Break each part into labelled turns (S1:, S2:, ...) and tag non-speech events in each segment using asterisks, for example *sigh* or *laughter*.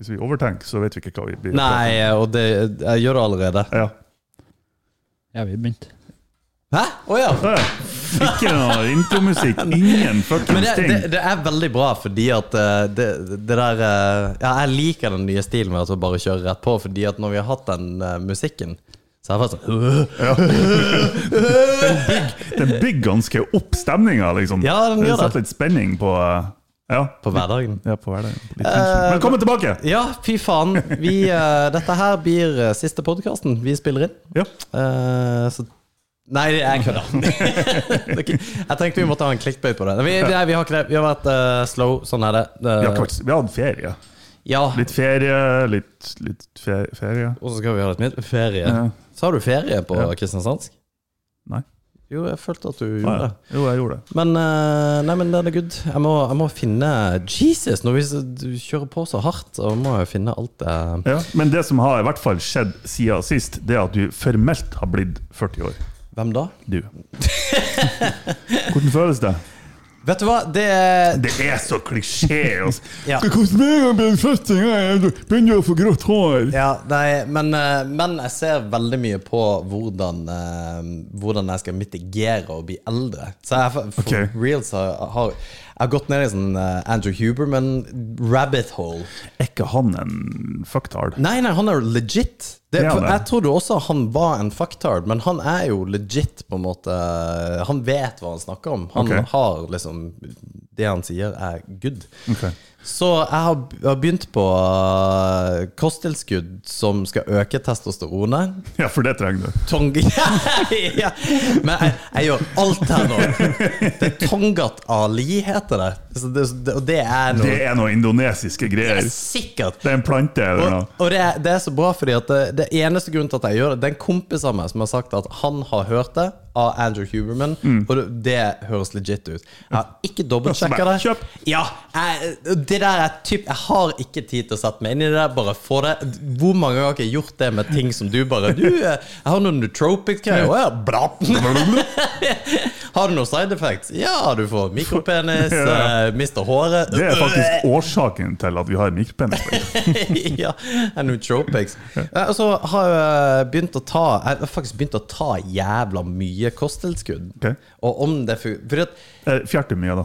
S1: Hvis vi overtenker, så vet vi ikke hva vi blir.
S2: Nei, og det, jeg gjør det allerede.
S1: Ja.
S3: Ja, vi begynte.
S2: Hæ? Å ja.
S1: Ja, ja. Ikke noe intromusikk. Ingen
S2: Men
S1: fuckings
S2: det, det,
S1: ting.
S2: det er veldig bra, fordi at eh, det, det der eh, Ja, jeg liker den nye stilen med at vi bare kjører rett på, fordi at når vi har hatt den eh, musikken, så er jeg bare sånn øh.
S1: Den bygger ganske opp stemninga, liksom.
S2: Ja, den gjør det.
S1: setter litt spenning på eh, Ja,
S2: På hverdagen.
S1: ja på hverdagen. Litt
S2: Eh,
S1: tension. Velkommen tilbake!
S2: Ja, fy faen. Vi, eh, dette her blir eh, siste podkasten vi spiller inn.
S1: Ja.
S2: Eh, så Nei, jeg
S1: *laughs*
S2: kødder. Det er ikke- jeg tenkte vi måtte ha en clickbait på det. Vi, nei, vi har ikke det. Vi har vært eh, slow. Sånn er det. Eh,
S1: Vi har, ikke vært- vi har hatt ferie.
S2: ja.
S1: Litt ferie, litt, litt fe- ferie.
S2: Og så skal vi ha litt mer ferie.
S1: Ja.
S2: Sa du ferie på
S1: Ja.
S2: kristiansandsk?
S1: Nei.
S2: Jo, jeg følte at du
S1: Ja,
S2: gjorde
S1: Ah, ja.
S2: det.
S1: Jo, jeg gjorde det.
S2: Men eh, nei, men den er good. Jeg må, jeg må finne Jesus, når vi s- du kjører på så hardt, så må jeg finne alt det
S1: Ja, men det som har i hvert fall skjedd siden sist, det er at du formelt har blitt 40 år.
S2: Hvem da?
S1: Du. Hvordan føles det?
S2: Vet du hva, det er
S1: Det er så klisjé! Altså.
S2: *laughs* Ja.
S1: Skal koste meg å bli 40 år, jeg begynner å få grått hår!
S2: ja, nei, men, eh, men jeg ser veldig mye på hvordan, eh, hvordan jeg skal mitigere å bli eldre. Så jeg for, for
S1: Ok.
S2: reals har, har jeg har gått ned i sånn eh, Andrew Huberman rabbit hole.
S1: Er ikke han en fucktard?
S2: Nei, nei, han er jo legit. Det,
S1: Det er han,
S2: for
S1: ja.
S2: jeg trodde også han var en fucktard, men han er jo legit, på en måte. Han vet hva han snakker om. Han
S1: Ok.
S2: har liksom Det han sier, er good.
S1: Ok.
S2: Så jeg har, jeg har begynt på øh, kosttilskudd som skal øke testosteronet. *laughs*
S1: Ja, for det trenger du.
S2: Tong... *laughs* ja. Men jeg, jeg gjør alt her nå. Det er Tongat Ali, heter det. Så det, det. Og det er
S1: Det
S2: noe
S1: er noen indonesiske greier.
S2: Sikkert
S1: Det er en plante eller noe.
S2: og, og det, er, det er så bra, fordi at det, det eneste grunnen til at jeg gjør det, det er en kompis av meg som har sagt at han har hørt det av Andrew Huberman,
S1: Mm.
S2: og det, det høres legit ut. Jeg har ikke dobbeltsjekka det.
S1: Altså, bare kjøp.
S2: Ja, jeg, det der er typ Jeg har ikke tid til å sette meg inn i det der. Bare få det. Hvor mange ganger har jeg ikke gjort det med ting som du bare Du, eh, jeg har noen nootropic-greier. Å ja, bra. *laughs* Har du noen side effects? Ja, du får mikropenis,
S1: *laughs* Ja.
S2: eh, mister håret
S1: Det er faktisk årsaken til at vi har
S2: *laughs*
S1: mikropenis.
S2: ja, and nootropics. Eh, Og så har jeg eh, begynt å ta Jeg har faktisk begynt å ta jævla mye kosttilskudd.
S1: Ok.
S2: Og om det fun- Fordi at
S1: Eh, Fjert er mye, da.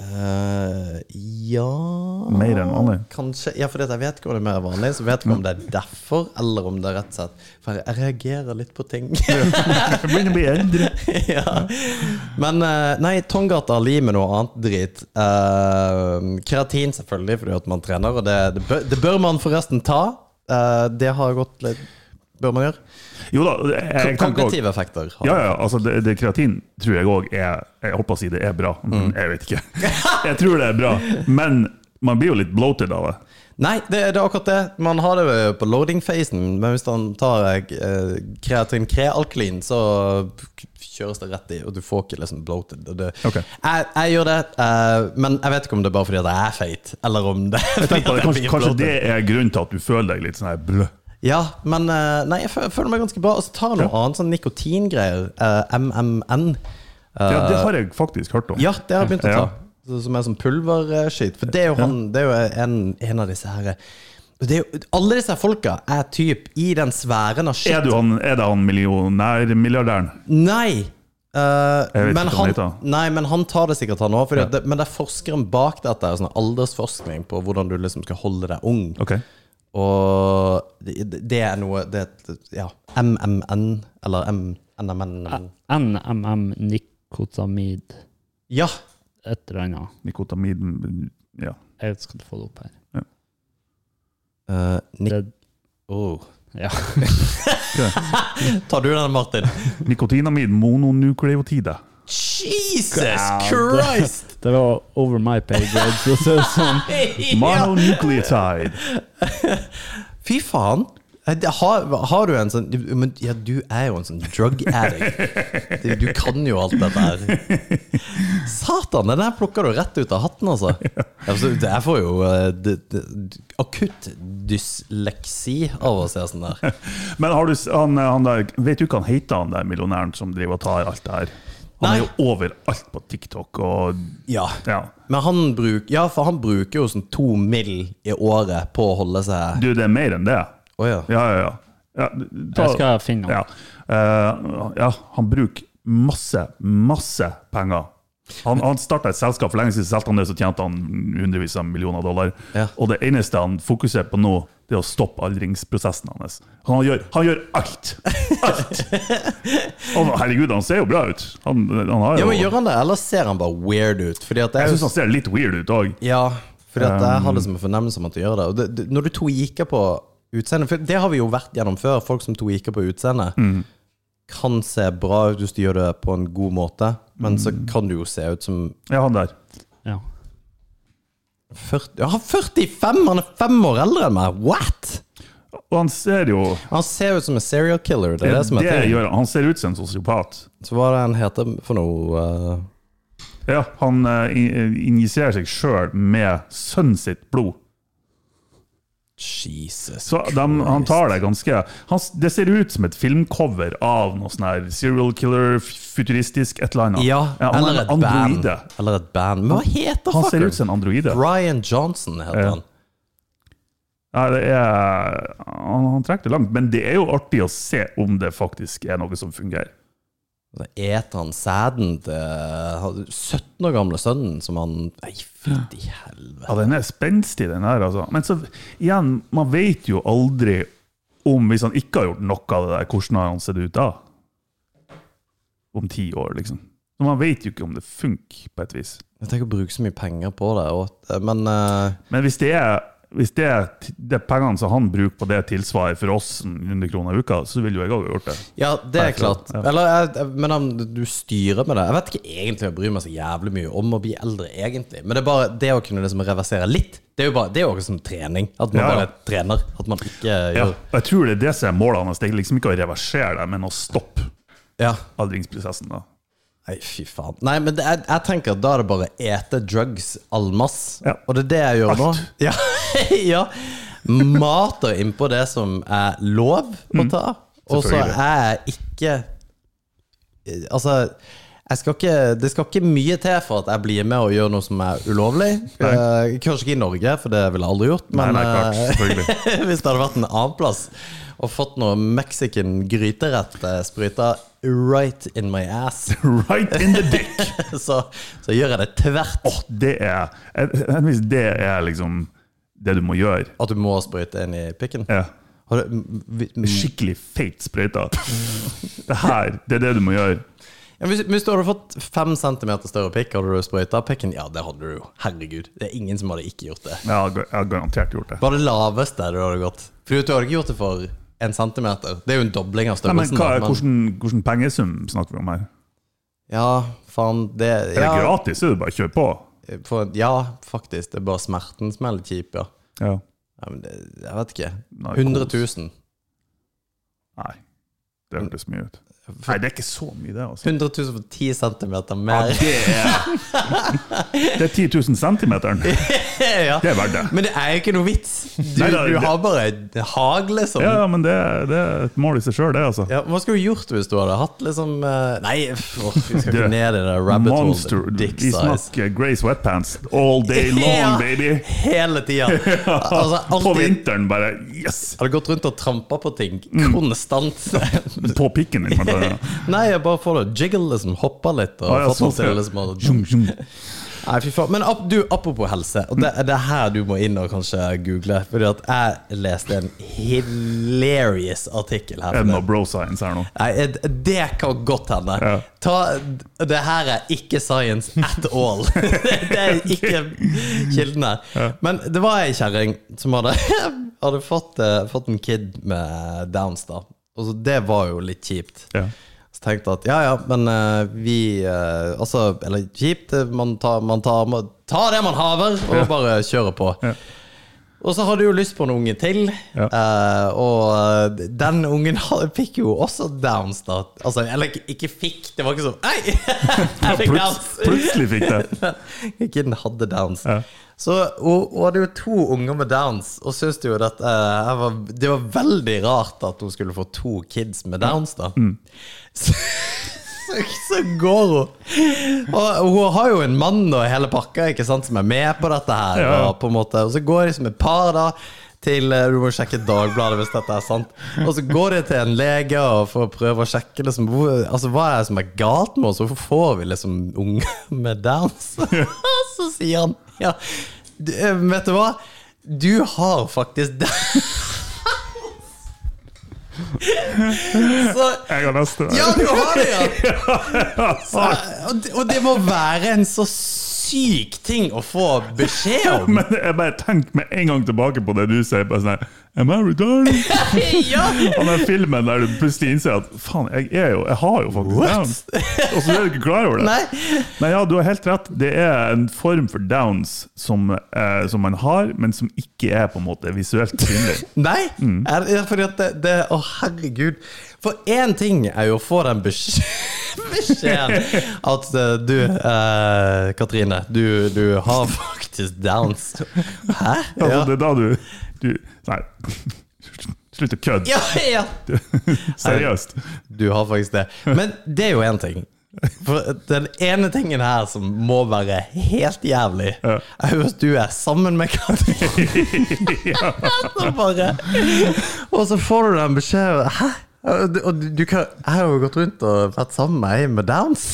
S2: eh, Ja
S1: Mer enn vanlig?
S2: Kanskje. Ja, fordi at jeg vet ikke om det er mer vanlig. Så vet jeg ikke om det er derfor, eller om det er rett og slett For jeg reagerer litt på
S1: *laughs*
S2: ting.
S1: Jeg begynner å bli eldre.
S2: ja. Men eh, nei, Tongata Ali med noe annet drit. Eh, keratin, selvfølgelig, fordi at man trener, og det, det, bør, det bør man forresten ta. Eh, det har gått litt Bør man gjøre?
S1: Jo da, jeg, jeg tenker også-
S2: Kognitive effekter. har-
S1: Ja, ja, ja, altså det, det kreatin tror jeg òg er Jeg holdt på å si det er bra, men
S2: Mm.
S1: jeg vet ikke. *laughs* Jeg tror det er bra, men man blir jo litt bloated av det.
S2: Nei, det, det er akkurat det. Man har det jo på loading-fasen, men hvis man tar eh, kreatin krealklin, så kjøres det rett i, og du får ikke liksom bloated. Og det,
S1: Ok.
S2: jeg, jeg gjør det, eh, men jeg vet ikke om det er bare fordi at jeg er feit, eller om det er fordi
S1: Tenk på
S2: at
S1: det.
S2: jeg
S1: Kanskje,
S2: blir
S1: kanskje
S2: bloated.
S1: det er grunnen til at du føler deg litt sånn her blø.
S2: Ja, men eh, nei, jeg fø- føler meg ganske bra. Og så tar jeg noe annet, sånn nikotingreier. eh, MMN. Eh,
S1: Ja, det har jeg faktisk hørt om.
S2: ja, det har jeg begynt å ta.
S1: Ja.
S2: Så- Som er sånn pulverskitt. For det er jo, han, det er jo en, en av disse her eh, og det er jo, Alle disse folka er typ i den sfæren av shit.
S1: Er, du han, er det han millionærmilliardæren?
S2: Nei! Eh,
S1: Jeg vet
S2: men,
S1: ikke om
S2: han,
S1: det heter.
S2: nei, men han tar det sikkert, han òg. Men det er forskeren bak dette. Sånn aldersforskning på hvordan du liksom skal holde deg ung.
S1: Ok.
S2: Og det, det er noe det, Ja. MMN, eller M- NMN
S3: NMM nikotamid,
S2: Ja!
S3: et eller annet.
S1: Nikotamid Ja.
S3: Jeg skal få det opp her.
S2: Eh, nik
S3: Det,
S2: Oh.
S3: Ja. *laughs*
S2: Tar du den, Martin?
S1: Nikotinamid mononukleotide.
S2: Jesus
S3: Ja, det-
S2: Christ! *laughs*
S3: Det var over my pay grade, så det ser ut som
S2: Ja.
S1: Mononucleotide.
S2: Fy faen! Eh, det- Har, har du en sånn du- men, Ja, du er jo en sånn drug addict. Du, du kan jo alt dette her. Satan, den her plukker du rett ut av hatten, altså. Altså, Jeg får jo eh, d- d- akutt dysleksi av å se sånn der.
S1: Men har du, s- han, han der, vet du hva han heter, han der millionæren som driver og tar alt det her? Han er
S2: Nei.
S1: jo overalt på TikTok og
S2: Ja.
S1: Ja.
S2: Men han, bruk, ja, for han bruker jo sånn to mill. i året på å holde seg
S1: Du, det er mer enn det.
S2: Å ja.
S1: Ja, ja, ja. ja du- ta-
S3: Jeg skal finne
S1: ja.
S3: han.
S1: Eh, ja, han bruker masse, masse penger. Han, han starta et selskap for lenge siden, solgte han det, så tjente han hundrevis av millioner dollar.
S2: Ja.
S1: Og det eneste han fokuserer på nå, det er å stoppe aldringsprosessen hans. Han gjør, han gjør alt!
S2: *laughs*
S1: Alt! Og, herregud, han ser jo bra ut. Han, han har
S2: ja,
S1: jo
S2: men Gjør han det, eller ser han bare weird ut? Fordi at
S1: Jeg
S2: jeg,
S1: syns han ser litt weird ut òg.
S2: Ja, fordi at jeg hadde som en fornemmelse om at du gjør det. Og det, det når du tweaker på utseendet For det har vi jo vært gjennom før. Folk som tweaker på utseendet, kan se bra ut hvis du gjør det på en god måte, men så kan du jo se ut som
S1: Ja, han der.
S3: Ja.
S2: 40, ja, 45! Han er fem år eldre enn meg! What?!
S1: Og han ser jo
S2: Han ser ut som en serial killer. Det
S1: det,
S2: er det som er tingen.
S1: gjør han. Han ser ut som en sosiopat.
S2: Så hva er det han heter for noe eh,
S1: Ja, han eh, in- injiserer seg sjøl med sønnen sitt blod.
S2: Jesus
S1: Så de, han tar det ganske han, s- Det ser ut som et filmcover av noe sånn her serial killer, f- futuristisk, et eller annet.
S2: Ja,
S1: han
S2: eller
S1: er
S2: et
S1: en
S2: band.
S1: androide.
S2: Eller et band. Men hva heter
S1: Han ser ut
S2: fuckeren?
S1: som en androide.
S2: Brian Johnson heter
S1: Ja.
S2: han.
S1: Nei, det er, han, han trekker det langt, men det er jo artig å se om det faktisk er noe som fungerer.
S2: Da eter han sæden til han- 17 år gamle sønnen som han Nei, fytti helvete.
S1: Ja, den er spenstig, den her, altså. Men så, igjen, man vet jo aldri om, hvis han ikke har gjort noe av det der, hvordan har han sett ut da? Om ti år, liksom. Så man vet jo ikke om det funker, på et vis.
S2: Jeg tenker å bruke så mye penger på det. Og, men eh,
S1: Men hvis det er, hvis det er t- det er pengene som han bruker på det tilsvaret for oss, 100 kroner i uka, så vil jo jeg òg ha gjort det.
S2: ja, det er
S1: Nei, klart,
S2: klart. Eller, jeg- jeg- men han- du styrer med det. Jeg vet ikke egentlig om jeg bryr meg så jævlig mye om å bli eldre, egentlig. Men det er bare det å kunne liksom reversere litt. Det er jo bare, det er jo også som trening. At man
S1: Ja, ja.
S2: bare trener. At man ikke
S1: Ja.
S2: gjør
S1: Og jeg tror det er det som er målet hans. Det er liksom ikke å reversere det, men å stoppe
S2: Ja.
S1: aldringsprosessen. da.
S2: Nei, fy faen. Nei, men det, jeg, jeg tenker at da er det bare ete drugs almas.
S1: Ja.
S2: Og det er det jeg gjør nå. *laughs* Ja. ja. Mater innpå det som er lov å ta. Og så
S1: Mm. Selvfølgelig.
S2: er jeg ikke Eh, Altså jeg skal ikke, det skal ikke mye til for at jeg blir med og gjør noe som er ulovlig. Eh, kanskje ikke i Norge, for det ville jeg aldri gjort.
S1: Nei,
S2: Men
S1: nei, klart,
S2: eh, *laughs*
S1: selvfølgelig.
S2: hvis det hadde vært en annen plass og fått noe mexican gryterett eh, spruta right in my ass
S1: Right in the dick!
S2: *laughs* så, så gjør jeg det tvert.
S1: Åh, det er jeg- jeg mener, Det er liksom det du må gjøre.
S2: At du må sprøyte inn i pikken.
S1: Ja.
S2: Har du, m- vi- m-
S1: Skikkelig feit sprøyte. Det her, det er det du må gjøre.
S2: ja, hvis, hvis du hadde fått fem centimeter større pikk, hadde du sprøyta pikken? Ja, det hadde du jo. Herregud. Det er ingen som hadde ikke gjort det.
S1: Jeg har, jeg har garantert gjort det.
S2: Hva er det laveste du hadde gått? For du hadde ikke gjort det for en centimeter. Det er jo en dobling av
S1: Nei, men
S2: størrelsen.
S1: hva,
S2: da, men-
S1: hvordan, hvordan pengesum snakker vi om her?
S2: Ja, faen, det
S1: Er det
S2: ja,
S1: gratis, så er det bare å kjøre på.
S2: for, ja, faktisk. Det er bare smerten som er litt kjip, ja.
S1: Ja.
S2: ja men det, jeg vet ikke.
S1: Narkos.
S2: 100 000.
S1: Nei, det hørtes mye ut. Nei, det er ikke så mye, det. altså.
S2: 100 000 for 10 centimeter
S1: Ja,
S2: mer.
S1: det, er, det er 10 000 centimeteren. Det
S2: *laughs* ja.
S1: er verdt det.
S2: Men det er jo ikke noe vits. Du,
S1: Nei, da,
S2: du
S1: det-
S2: har bare et liksom. hagle som
S1: Ja, ja, men det, er- det er et mål i seg sjøl, det, altså.
S2: Ja, Hva skulle du gjort hvis du hadde hatt liksom eh, Nei, pff, åh, vi skal
S1: Du,
S2: ikke ned i det rabbit
S1: Monster.
S2: hole. Dick
S1: Vi
S2: size.
S1: snakker Grey Sweatpants all day
S2: *laughs* Ja.
S1: long, baby!
S2: Hele tida.
S1: *laughs*
S2: Altså,
S1: På
S2: alltid
S1: vinteren bare Yes!
S2: hadde gått rundt og trampa på ting
S1: Mm. *laughs*
S2: konstant.
S1: På
S2: *laughs*
S1: pikken din. men bare-
S2: Nei, jeg bare får det jiggle, liksom. Hoppa litt. Og
S1: Ah, ja,
S2: fått
S1: sånn,
S2: meg til å
S1: ja.
S2: liksom å-
S1: Tjung,
S2: *laughs*
S1: tjung.
S2: Nei, fy faen. Men ap du, apropos helse, og det er det her du må inn og kanskje google. Fordi at jeg leste en hilarious artikkel her.
S1: Er det
S2: forleden.
S1: noe bro science her
S2: *laughs*
S1: nå?
S2: Nei, eh, det kan godt hende.
S1: Ja.
S2: Ta, det her er ikke science at all. *laughs* det er ikke kilden her. Men det var ei kjerring som hadde *laughs* hadde fått, eh, fått en kid med downs, da. Og så det var jo litt kjipt.
S1: Ja.
S2: Så tenkte jeg at ja, ja, men eh, vi eh, Altså, eller kjipt, eh, man tar, man tar man, Ta det man haver, og bare kjører på.
S1: Ja.
S2: Og så hadde jeg jo lyst på en unge til,
S1: Ja.
S2: eh, og eh, den ungen *laughs* hadde, fikk jo også downs, da. Altså, eller ikke- ikke fikk, det var ikke sånn Hei! *laughs* Jeg fikk downs!
S1: Pluts-
S2: *laughs*
S1: Plutselig fikk det.
S2: Kiden hadde downs.
S1: Ja.
S2: Så hun, hun hadde jo to unger med downs, og syntes jo at eh, jeg var, det var veldig rart at hun skulle få to kids med downs, da.
S1: Mm.
S2: Så, så, så går hun Og hun har jo en mann og hele pakka ikke sant, som er med på dette her,
S1: Ja.
S2: og på en måte Og så går de som et par, da. Til, eh, du må sjekke Dagbladet hvis dette er sant. Og så går de til en lege og for å prøve å sjekke liksom, hvor, altså, hva er det som er galt med oss. Hvorfor får vi liksom unger *laughs* med downs? *laughs* så sier han ja, du, eh, vet du hva? Du har faktisk *laughs* downs. så
S1: Jeg har neste.
S2: ja, du har det, ja! Så- og det- Og det må være en så syk ting å få beskjed om.
S1: *laughs* Men jeg bare tenker med en gang tilbake på det du sier. Bare sånn her, Am I
S2: *laughs*
S1: retarded?
S2: Ja.
S1: Og den filmen der du plutselig innser at faen, jeg, er jo, jeg har jo faktisk
S2: What?
S1: downs. Og så er du ikke klar over det.
S2: Nei.
S1: Nei, ja, du har helt rett. Det er en form for downs som, eh, som man har, men som ikke er på en måte visuelt synlig.
S2: Nei,
S1: Mm.
S2: er, er fordi at det, det Å, herregud. For én ting er jo å få den beskj- *laughs* beskjeden at eh, du, eh, Katrine, du, du har faktisk downs. Hæ?
S1: Altså,
S2: Ja.
S1: Det er da du, du Nei, *laughs* slutt å kødde.
S2: Ja, ja.
S1: *laughs* Seriøst.
S2: Du har faktisk det. Men det er jo én ting. For den ene tingen her som må være helt jævlig, er jo at du er sammen med Katrine. *laughs* Så bare- og så får du den beskjeden Hæ? Og du- Og du, du kan, jeg har jo gått rundt og vært sammen med ei med downs.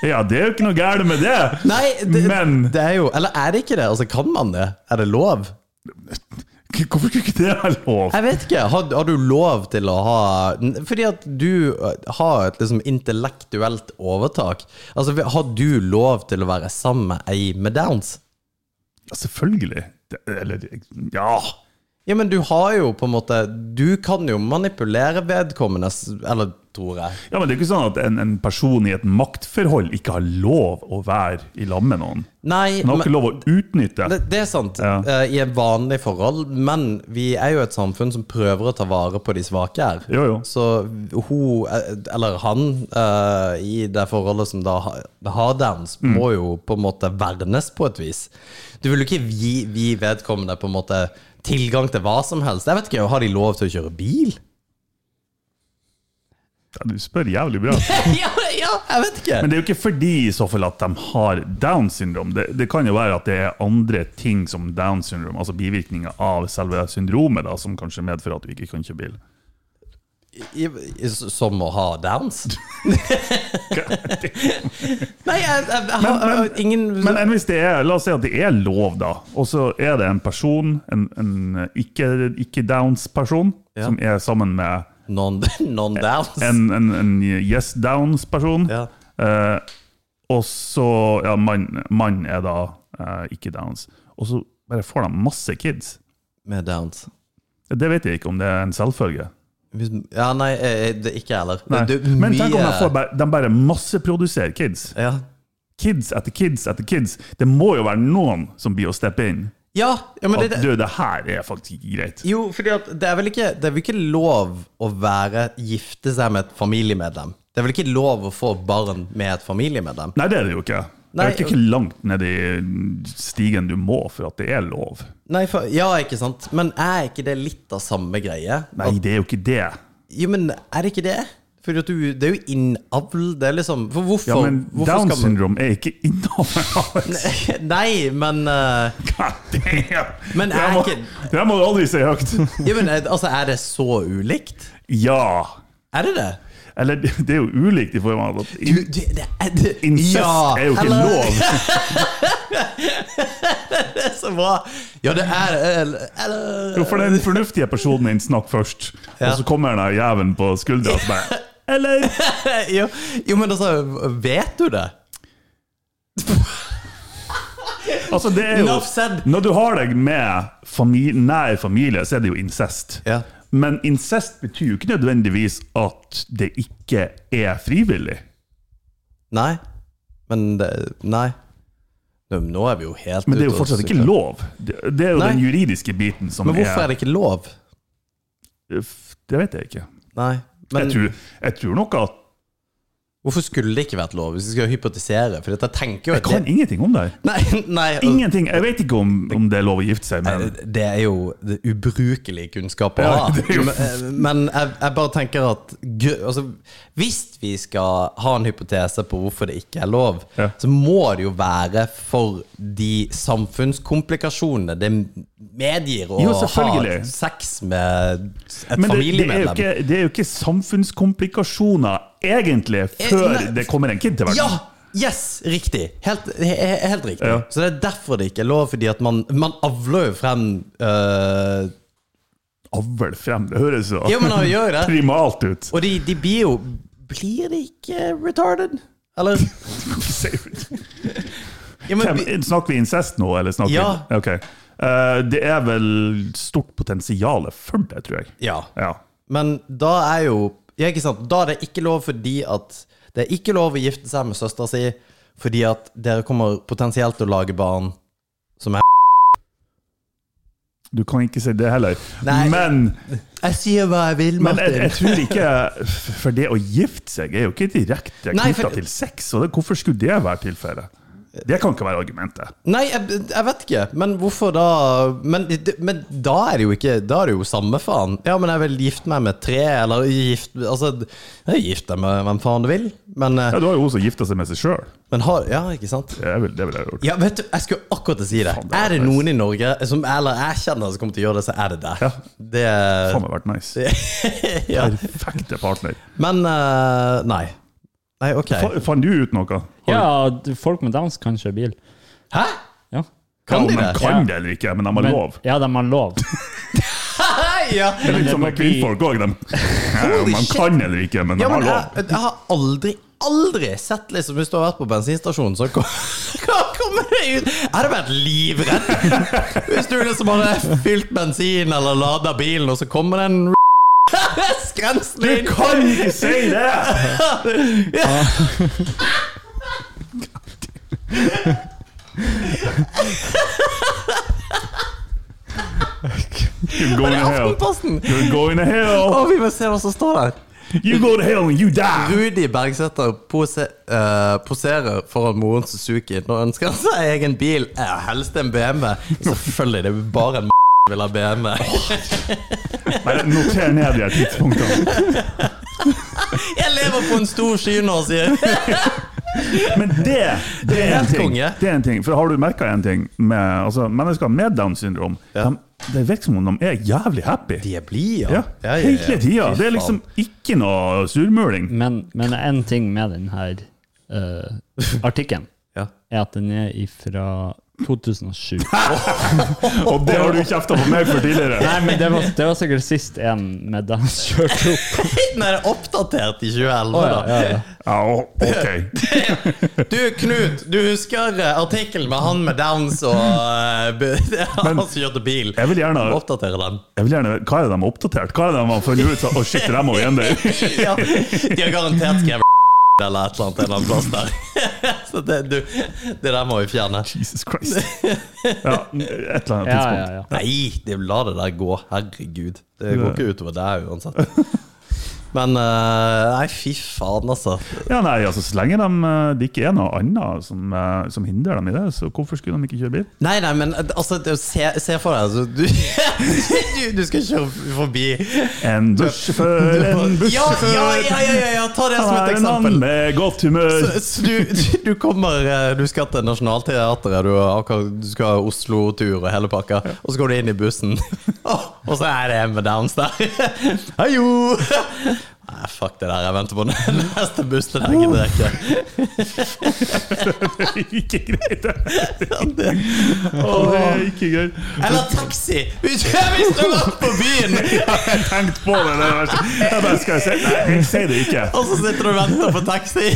S1: Ja, det er jo ikke noe gærent med det.
S2: Nei, det,
S1: Men-
S2: det er jo Eller er det ikke det? Altså, Kan man det? Er det lov?
S1: K- Hvorfor kunne ikke det være lov?
S2: Jeg vet ikke. Har, har du lov til å ha Fordi at du har et liksom intellektuelt overtak. Altså, Har du lov til å være sammen med ei med downs?
S1: Ja, selvfølgelig. Det, eller Ja.
S2: Ja, men du har jo på en måte Du kan jo manipulere vedkommende, s- eller tror jeg.
S1: ja, men det er ikke sånn at en, en person i et maktforhold ikke har lov å være i lag med noen.
S2: Nei,
S1: Man har ikke
S2: men,
S1: lov å utnytte.
S2: det, det er sant.
S1: Ja.
S2: eh, I et vanlig forhold. Men vi er jo et samfunn som prøver å ta vare på de svake her.
S1: Jo, jo.
S2: Så hun, eh, eller han, eh, i det forholdet som da ha- har downs,
S1: Mm.
S2: må jo på en måte vernes på et vis. Du vil jo ikke gi, gi vedkommende på en måte tilgang til hva som helst. Jeg vet ikke, Har de lov til å kjøre
S1: *laughs*
S2: bil?
S1: Ja, du spør jævlig bra.
S2: ja, ja, jeg vet ikke.
S1: Men det er jo ikke fordi i så fall at de har Downs syndrom. Det, det kan jo være at det er andre ting som Downs syndrom, altså bivirkninger av selve syndromet, da, som kanskje medfører at du ikke kan kjøre bil.
S2: I, i, som å ha
S1: *laughs*
S2: downs? Nei, jeg, jeg, jeg, har- jeg har ingen
S1: Men enn hvis det er, la oss si at det er lov, da, og så er det en person, en, en ikke- ikke-Downs-person,
S2: Ja.
S1: som er sammen med
S2: Non-downs.
S1: en, en, en yes-Downs-person,
S2: ja.
S1: eh, og så Ja, mann mann er da eh, ikke-Downs. Og så bare får de masse kids.
S2: Med downs.
S1: Det vet jeg ikke om det er en selvfølge.
S2: Hvis- Ja, nei, eh, eh, det, ikke jeg heller.
S1: Nei.
S2: Det er
S1: Men tenk om de,
S2: mye-
S1: får bare, de bare masseproduserer kids.
S2: ja.
S1: Kids etter kids etter kids. Det må jo være noen som blir å steppe inn.
S2: Ja, ja, men det, det,
S1: At du, det her er faktisk ikke greit.
S2: Jo, fordi at det er vel ikke Det er vel ikke lov å være gifte seg med et familiemedlem? Det er vel ikke lov å få barn med et familiemedlem?
S1: Nei, det er det jo ikke. Det
S2: Nei,
S1: er ikke, ikke langt ned i stigen du må for at det er lov.
S2: Nei, for, ja, ikke sant? Men er ikke det litt av samme greie?
S1: Nei, det er jo ikke det.
S2: Jo, men er det ikke det? Fordi at du, det er jo innavl, det er liksom For hvorfor,
S1: Ja, men
S2: hvorfor
S1: Downs syndrom er ikke *laughs* innover.
S2: man *laughs* Nei, men eh, Men er
S1: det må,
S2: ikke-
S1: det må du aldri si høyt.
S2: Jo, men eh, altså, er det så ulikt?
S1: Ja.
S2: Er det det?
S1: Eller det er jo ulikt i form av at
S2: Du, det, det, er- det,
S1: incest
S2: ja,
S1: er jo ikke
S2: eller-
S1: lov.
S2: Det er så bra! Ja, det er eller, eller-
S1: Jo, for den fornuftige personen din snakker først,
S2: Ja.
S1: og så kommer den der jævelen på skuldra og så bare Eller?
S2: *laughs* jo, jo, men altså, vet du det?
S1: Altså, det er jo,
S2: Enough said.
S1: når du har deg med fami- nær familie, så er det jo incest.
S2: Ja.
S1: Men incest betyr jo ikke nødvendigvis at det ikke er frivillig.
S2: Nei. Men det, Nei. Nå- Nå er vi jo helt
S1: Men det er
S2: ute
S1: jo
S2: og
S1: fortsatt ikke
S2: sykler.
S1: lov. Det det er jo
S2: Nei.
S1: den juridiske biten som
S2: Men hvorfor er det ikke lov?
S1: Det vet jeg ikke.
S2: Nei. Men
S1: jeg, tror, jeg tror nok at
S2: hvorfor skulle det ikke vært lov, hvis vi skal hypotisere? For dette tenker jo
S1: Jeg kan
S2: det-
S1: ingenting om det. her.
S2: Nei, nei altså- og-
S1: Ingenting. Jeg vet ikke om, om det er lov å gifte seg, men
S2: Det er jo det ubrukelige kunnskap å
S1: Ja,
S2: ha.
S1: det er jo-
S2: Men- eh, Men jeg, jeg bare tenker at gr- altså, Hvis vi skal ha en hypotese på hvorfor det ikke er lov,
S1: Ja.
S2: så må det jo være for de samfunnskomplikasjonene det medgir å
S1: Jo,
S2: ha
S1: selvfølgelig.
S2: sex med et
S1: men det, det, er jo
S2: familiemedlem.
S1: ikke, det er jo ikke samfunnskomplikasjoner egentlig før
S2: Eh, nei.
S1: det kommer en kid til verden.
S2: Ja! Yes! Riktig. Helt, he- he- helt riktig.
S1: Ja.
S2: Så det er derfor det ikke er lov, fordi at man, man avler jo frem øh,
S1: Avl frem, det høres så
S2: Jo, men han gjør det.
S1: primalt *laughs* ut.
S2: Og de, de blir jo Blir de ikke retarded? Eller? Ja, men,
S1: Hvem,
S2: vi-
S1: snakker vi incest nå, eller snakker
S2: Ja.
S1: vi Ok. Eh, det er vel stort potensial for det, tror jeg.
S2: ja.
S1: Ja.
S2: men da er jo ja, ikke sant? Da er det ikke lov fordi at Det er ikke lov å gifte seg med søstera si fordi at dere kommer potensielt til å lage barn som er
S1: Du kan ikke si det heller.
S2: Nei.
S1: men
S2: Jeg sier hva jeg vil,
S1: men eh, jeg, jeg tror ikke For det å gifte seg er jo ikke direkte
S2: Nei, for-
S1: knytta til sex. Og det, hvorfor skulle det være tilfellet? Det kan ikke være argumentet.
S2: Nei, jeg, jeg vet ikke. Men hvorfor da men, men da er det jo ikke Da er det jo samme faen. Ja, men jeg vil gifte meg med tre, eller gift, Altså, jeg gifter meg med hvem faen du vil, men, eh,
S1: Ja, Du har jo også gifta seg med seg sjøl.
S2: men har Ja, ikke sant?
S1: Det ville det vil jeg ha gjort.
S2: Ja, vet du, jeg skulle akkurat til å si det.
S1: Faen, det var
S2: Er det
S1: nice.
S2: noen i Norge som Eller jeg kjenner som kommer til å gjøre det, så er det der.
S1: Ja.
S2: Det
S1: Faen, det har vært nice.
S2: ja. *laughs*
S1: Perfekte partner.
S2: Men eh, nei. Nei, OK.
S1: Fa- Fant du ut noe?
S3: Ja, du- folk med downs kan kjøre bil.
S2: Hæ? *laughs*
S3: Ja.
S2: Kan de
S1: om
S2: det?
S1: de kan det eller ikke, men de har
S3: Men-
S1: lov.
S3: Ja, de har
S1: *laughs*
S3: lov.
S2: ja.
S1: Det er litt
S3: det
S1: som
S3: må
S1: med
S3: bli-
S1: kvinnfolk òg.
S2: Holy
S1: Man
S2: shit.
S1: kan eller ikke, men de
S2: ja,
S1: har
S2: men
S1: lov.
S2: jeg, jeg har aldri, aldri sett liksom Hvis du har vært på bensinstasjonen, så kom, *laughs* hva kommer det ut Jeg hadde vært livredd.
S1: *laughs*
S2: Hvis du liksom hadde fylt bensin eller lada bilen, og så kommer det en *laughs* skrensel inn.
S1: Kan
S2: *laughs*
S1: ikke si det! You go to hell.
S2: Aftenposten!
S1: You go to
S2: Å,
S1: hell.
S2: vi må se hva som står der.
S1: You go to hell and you die.
S2: Rudi Bergsæter pose, eh, poserer foran moren Suzuki. Nå ønsker han seg egen bil, eh, helst en BMW. Selvfølgelig, det er jo bare en *laughs* vil ha BMW.
S1: Nei, noter ned de her tidspunktene.
S2: *laughs* Jeg lever på en stor sky nå, sier *laughs* jeg.
S1: Men det, det er en
S2: Helt
S1: ting.
S2: konge.
S1: Det er en ting. For har du merka en ting med altså, mennesker med Downs syndrom?
S2: Ja.
S1: De, det virker som om de er jævlig happy.
S2: De er blide,
S1: Ja, Hele tida.
S2: Fy
S1: Det er liksom ikke noe surmuling.
S3: Men, men en ting med denne uh,
S1: *laughs*
S3: artikkelen
S2: faen. Ja.
S3: er at den er ifra 2007.
S2: Mm.
S1: Og det har du kjefta på meg for tidligere.
S3: Nei, men det var, det var sikkert sist en med downs kjørte opp.
S2: Nei, det er oppdatert i 2011,
S3: Å, ja, ja, ja.
S1: Ja, ok.
S2: da. Du, Knut, du husker eh, artikkelen med han med downs og eh, *laughs* b- han som kjørte bil?
S1: Jeg vil gjerne,
S2: Må Oppdatere den.
S1: jeg vil gjerne Hva er det de har oppdatert? Hva er det de har funnet ut? Å, shit, det må
S2: *laughs*
S1: vi endre.
S2: Ja, de har garantert skrevet *laughs* eller et eller annet en eller annen plass der. *laughs* Så det, du, det der må vi fjerne.
S1: Jesus Christ. Ja, et eller annet
S3: Ja,
S1: tidspunkt.
S3: ja, ja.
S2: Nei, det, la det der gå. Herregud. Det går ikke utover deg uansett. Men eh, Nei, fy faen, altså.
S1: Ja, nei, altså Så lenge de, eh, det ikke er noe annet som, eh, som hindrer dem i det, så hvorfor skulle de ikke kjøre bil?
S2: Nei, nei, men eh, altså, det- se, se for deg altså, du, du, *laughs* du skal kjøre forbi
S1: En bussjåfør,
S2: *laughs*
S1: en
S2: ja,
S1: bussjåfør
S2: ja, ja, ja, ja, ja, ta det som et
S1: Han er en mann
S2: eksempel.
S1: med godt humør.
S2: Så, så du, du kommer eh, Du skal til Nationaltheatret, du, har akkurat- du skal ha Oslo-tur og hele pakka, og så går du inn i bussen. *laughs* Å, Og så er det en med downs der. *laughs* Hallo! Nei, fuck det der. Jeg venter på den *laughs* neste bussen. Jeg gidder ikke.
S1: Det gikk *laughs* ikke greit. Å, det gikk ikke greit.
S2: Eller taxi! Vi kjører vi strømmer på byen!
S1: Jeg tenkte på det. det var så- jeg bare, skal jeg si Nei, jeg sier det ikke.
S2: Og så sitter du og venter på taxi.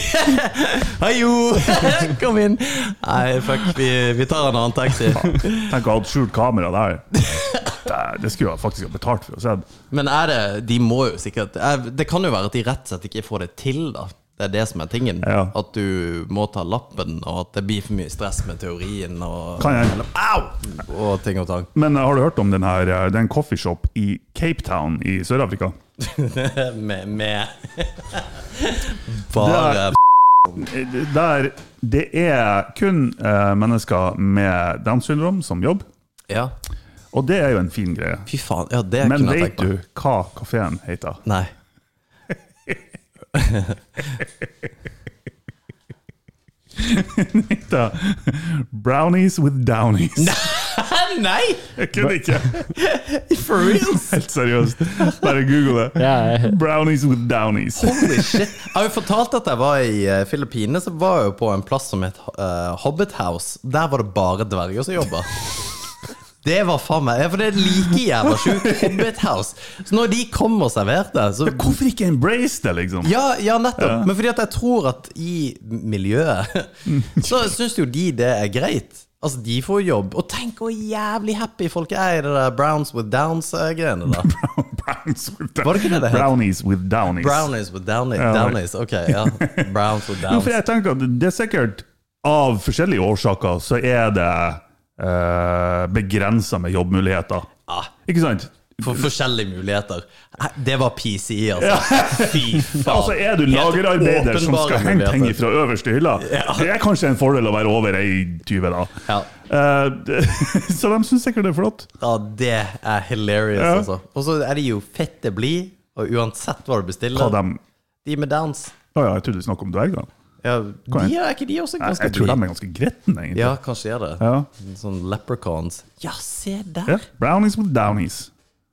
S2: *laughs* Hallo! *laughs* Kom inn. Nei, fuck. Vi, vi tar en annen taxi.
S1: Tenk å ha hatt skjult kamera der. Det- Det skulle jeg faktisk ha betalt for å se.
S2: Men er det De må jo sikkert eh, Det kan jo være at de rett og slett ikke får det til, da. Det er det som er tingen.
S1: Ja.
S2: At du må ta lappen, og at det blir for mye stress med teorien og,
S1: Kan jeg?
S2: og ting og tang. *laughs*
S1: Men eh, har du hørt om den her, eh, det er en coffeeshop i Cape Town i Sør-Afrika?
S2: med, med Bare
S1: Eh, Der det er kun eh, mennesker med Downs syndrom som jobb,
S2: Ja,
S1: og det er jo en fin greie.
S2: fy faen. Ja, det
S1: Men
S2: kunne jeg
S1: vet
S2: tenkt meg.
S1: du hva kafeen heter?
S2: Nei. *laughs*
S1: Da- Brownies with downies.
S2: Nei!
S1: Jeg kødder ikke!
S2: For reals!
S1: Helt seriøst. Bare google det.
S3: Ja, jeg-
S1: Brownies with downies.
S2: Holy shit. Jeg har jo fortalt at jeg var i eh, Filippinene, så var jeg jo på en plass som het eh, Hobbit House. Der var det bare dverger som jobba. Det var faen meg ja, For det er like jævla sjukt. Hobbit House. Så når de kom og serverte, så
S1: Hvorfor ikke embrace det, liksom?
S2: ja, ja, nettopp. Men fordi at jeg tror at i
S1: *laughs*
S2: miljøet så syns jo de det er greit. Altså, de får jobb. Og tenk hvor jævlig happy folk er i det der Browns with Downs-greiene.
S1: *laughs*
S2: da
S1: *laughs* Brownies with
S2: Var det ikke det det het?
S1: Brownies with downies.
S2: Brownies with Downies.
S1: Ja, det-
S2: Downies, ok, ja Browns
S1: *laughs*
S2: with
S1: Jo,
S2: Downs.
S1: for jeg tenker at det er sikkert Av forskjellige årsaker så er det eh, begrensa med jobbmuligheter.
S2: Ja.
S1: Ikke sant?
S2: For forskjellige muligheter. Hæ, Det var PCI, altså. Fy faen.
S1: *laughs* Altså Er du
S2: Helt
S1: lagerarbeider som
S2: åpenbare
S1: skal hente ting
S2: muligheter.
S1: fra øverste hylla, det er kanskje en fordel å være over ei 20, da.
S2: Ja.
S1: Eh, *laughs* det- så de syns sikkert det er flott.
S2: Ja, det er hilarious,
S1: Ja.
S2: altså. Og så er de jo fette blide, og uansett hva du
S1: Hva
S2: bestiller
S1: de
S2: De med downs,
S1: Å ja, jeg trodde du snakket om dvergene.
S2: ja, de er ikke de også
S1: Nei,
S2: ganske
S1: Jeg tror de
S2: blide?
S1: er ganske gretne, egentlig.
S2: Ja, kanskje de er det.
S1: Ja.
S2: Sånn leprechauns. Ja, se
S1: Ja,
S2: der!
S1: Brownies with downies.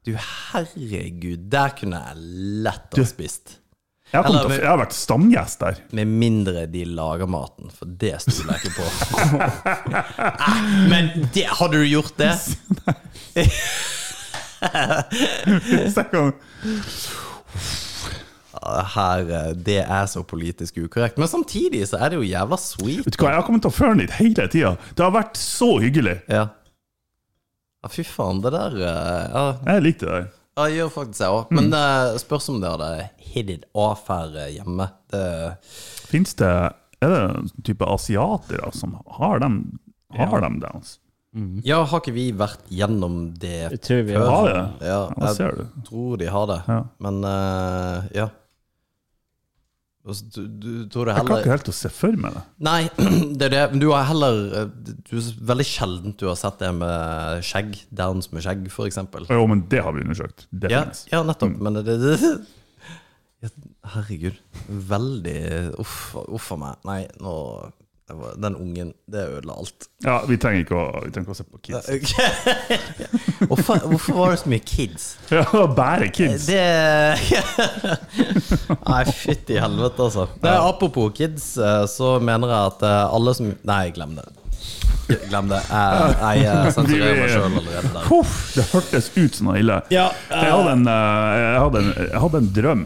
S2: Du, herregud. Der kunne jeg lett
S1: Du-
S2: ha spist.
S1: Jeg har, kommet,
S2: Eller-
S1: til å- jeg har vært stamgjest
S2: *laughs*
S1: der.
S2: Med mindre de lager maten, for det stoler jeg ikke på.
S1: *laughs*
S2: Nei, Men det, hadde du gjort det?
S1: Så jeg kan-
S2: Ja, Her, eh, det er så politisk ukorrekt. Men samtidig så er det jo jævla sweet.
S1: Vet du hva, jeg har kommet til å føre den dit hele tida. Det har vært så hyggelig.
S2: Ja. ja, fy faen, det der eh, Ja,
S1: Jeg likte det. der.
S2: ja jeg gjør faktisk det òg. Men eh, spørs om det hadde hit it off her eh, hjemme. Det,
S1: Fins det Er det en type asiatere som har dem? Har dem downs? Mm.
S2: ja, har ikke vi vært gjennom det?
S3: jeg tror vi
S1: Har de
S3: har
S1: det?
S2: Ja,
S1: Ja,
S2: jeg
S1: ser du.
S2: tror de har det.
S1: Ja.
S2: Men eh, ja. Altså, Du, du tror det
S1: Jeg klarer
S2: heller
S1: ikke helt å se for meg det.
S2: Nei, *clears throat* det er det. Men du har heller eh, du, Veldig sjeldent du har sett det med skjegg. Downs med skjegg, for eksempel.
S1: Jo, men det har vi undersøkt. Det
S2: Ja, Mm.
S1: finnes.
S2: ja nettopp. Men det, det, det *laughs* ja, Herregud. Veldig Uff uff a meg. Nei, nå det var- Den ungen, det ødela *laughs* alt.
S1: Ja, vi trenger ikke å, vi trenger ikke å se på kids.
S2: Ok. Hvorfor, hvorfor var det så mye kids?
S1: *laughs* Ja, Bare kids!
S2: Det *laughs* Nei, fytti helvete, altså. Nei, apropos kids, eh, så mener jeg at eh, alle som Nei, glem det. Glem det. Jeg, jeg eh, sensurerer meg sjøl allerede der.
S1: Puff, det hørtes ut som noe ille.
S2: Ja, eh.
S1: jeg, hadde en, eh, jeg, hadde en, jeg hadde en drøm.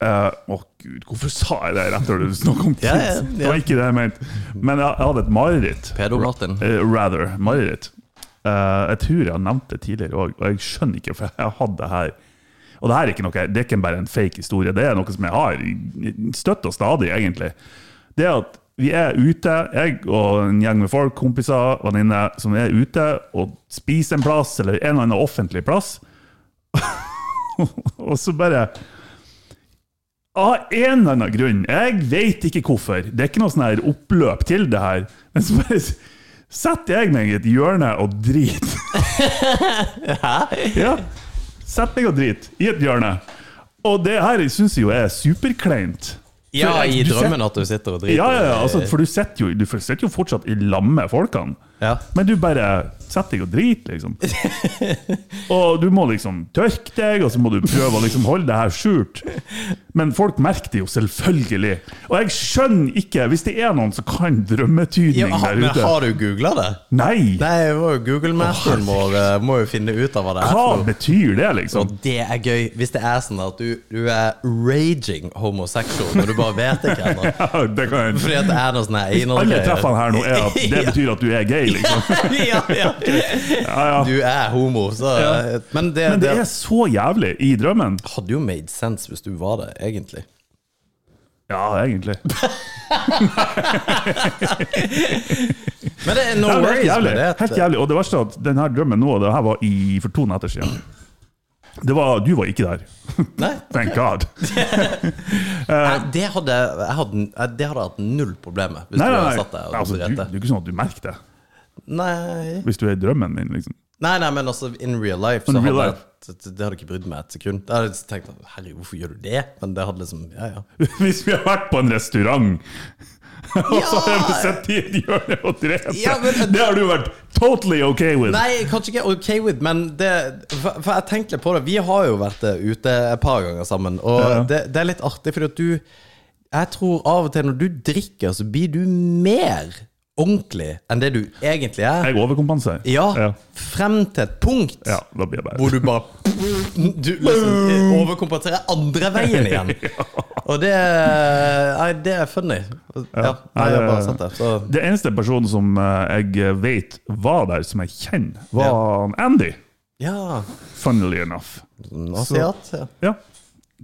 S1: Eh, Å gud, hvorfor sa jeg det rett når du snakket om kids?
S2: Ja, ja, ja.
S1: Det var ikke det jeg mente. Men jeg, jeg hadde et mareritt.
S2: Pedo Martin.
S1: Eh, rather, mareritt. Eh, jeg tror jeg har nevnt det tidligere òg, og jeg skjønner ikke, for jeg hadde det her. Og det her er ikke noe, det er ikke bare en fake historie, det er noe som jeg har i- støtt og stadig, egentlig. Det er at vi er ute, jeg og en gjeng med folk, kompiser, venninner, som er ute og spiser en plass, eller en eller annen offentlig plass, *laughs* og så bare av en eller annen grunn, jeg vet ikke hvorfor, det er ikke noe sånn her oppløp til det her, men så bare s- setter jeg meg i et hjørne og
S2: *laughs*
S1: driter. Ja. Setter meg og driter i et hjørne. Og det her syns jeg jo er superkleint.
S2: Ja,
S1: For jeg-
S2: i
S1: du set-
S2: drømmen at du sitter og driter.
S1: Ja, ja, ja, altså, for du sitter jo, du sitter jo fortsatt i lag med folkene.
S2: Ja.
S1: Men du bare Sett deg og drit,
S2: *laughs*
S1: liksom. Og du må liksom tørke deg, og så må du prøve å liksom holde det her skjult. Men folk merker det jo selvfølgelig. Og jeg skjønner ikke, hvis det er noen som kan
S2: Ja,
S1: drømmetydning
S2: har,
S1: der
S2: men
S1: ute
S2: har du googla det?
S1: Nei!
S2: Nei, jeg må jo Google-mesteren vår eh, må jo finne ut av hva det er.
S1: Hva
S2: for noe.
S1: betyr det, liksom?
S2: Og det er gøy hvis det er sånn at du, du er raging homosexual, men du bare vet ikke ennå.
S1: *laughs* Ja, det kan jeg
S2: Fordi at det er noe sånn her
S1: Alle
S2: innholdgreier.
S1: treffene her nå
S2: *laughs*
S1: er at det betyr at du er gay, liksom.
S2: ja, ja.
S1: Ja, ja.
S2: Du er homo, så Men det,
S1: Men det
S2: det,
S1: er så jævlig i drømmen.
S2: hadde jo made sense hvis du var det, egentlig.
S1: Ja,
S2: *laughs*
S1: egentlig.
S2: Men det er no
S1: Ja, det var helt
S2: worries
S1: jævlig.
S2: med det. at-
S1: Helt jævlig. Og det verste er at denne drømmen nå, det her var i, for to netter siden. Det var, du var ikke der.
S2: Nei, *laughs*
S1: Thank God. Eh.
S2: nei, det hadde jeg hadde, jeg- det hadde jeg hatt null problem med. Hvis
S1: Nei,
S2: du
S1: nei,
S2: hadde
S1: nei.
S2: satt der og
S1: Altså, du, det
S2: rett
S1: er
S2: det.
S1: jo ikke sånn at du merker det
S2: Nei.
S1: hvis du er i drømmen min. liksom. *laughs*
S2: nei, nei, men altså in real life så
S1: In real
S2: hadde jeg det hadde jeg ikke brydd meg et sekund. Jeg hadde tenkt at, herregud, hvorfor gjør du det? Men det hadde liksom Ja, ja.
S1: Hvis vi har vært på en restaurant, *laughs* og så har vi sittet i et hjørne og drept
S2: Ja, men-
S1: Det har du vært totally ok with.
S2: Nei, kanskje ikke OK with, men det For, for jeg tenkte litt på det. Vi har jo vært eh, ute et par ganger sammen, og
S1: Ja, ja.
S2: Det, det er litt artig, fordi at du Jeg tror av og til når du drikker, så blir du mer ordentlig enn det du egentlig er.
S1: Jeg overkompenserer.
S2: Ja,
S1: ja.
S2: frem til et punkt
S1: Ja, da blir jeg bare
S2: hvor du bare Du liksom overkompenserer andre veien
S1: *laughs*
S2: igjen. Og det Nei, det er funny. Ja, nei, jeg har
S1: eh,
S2: bare sett det. Så
S1: Det eneste personen som eh, jeg vet var der, som jeg kjenner, var Andy.
S2: ja.
S1: Funnily enough.
S2: Asiat. Ja.
S1: Ja,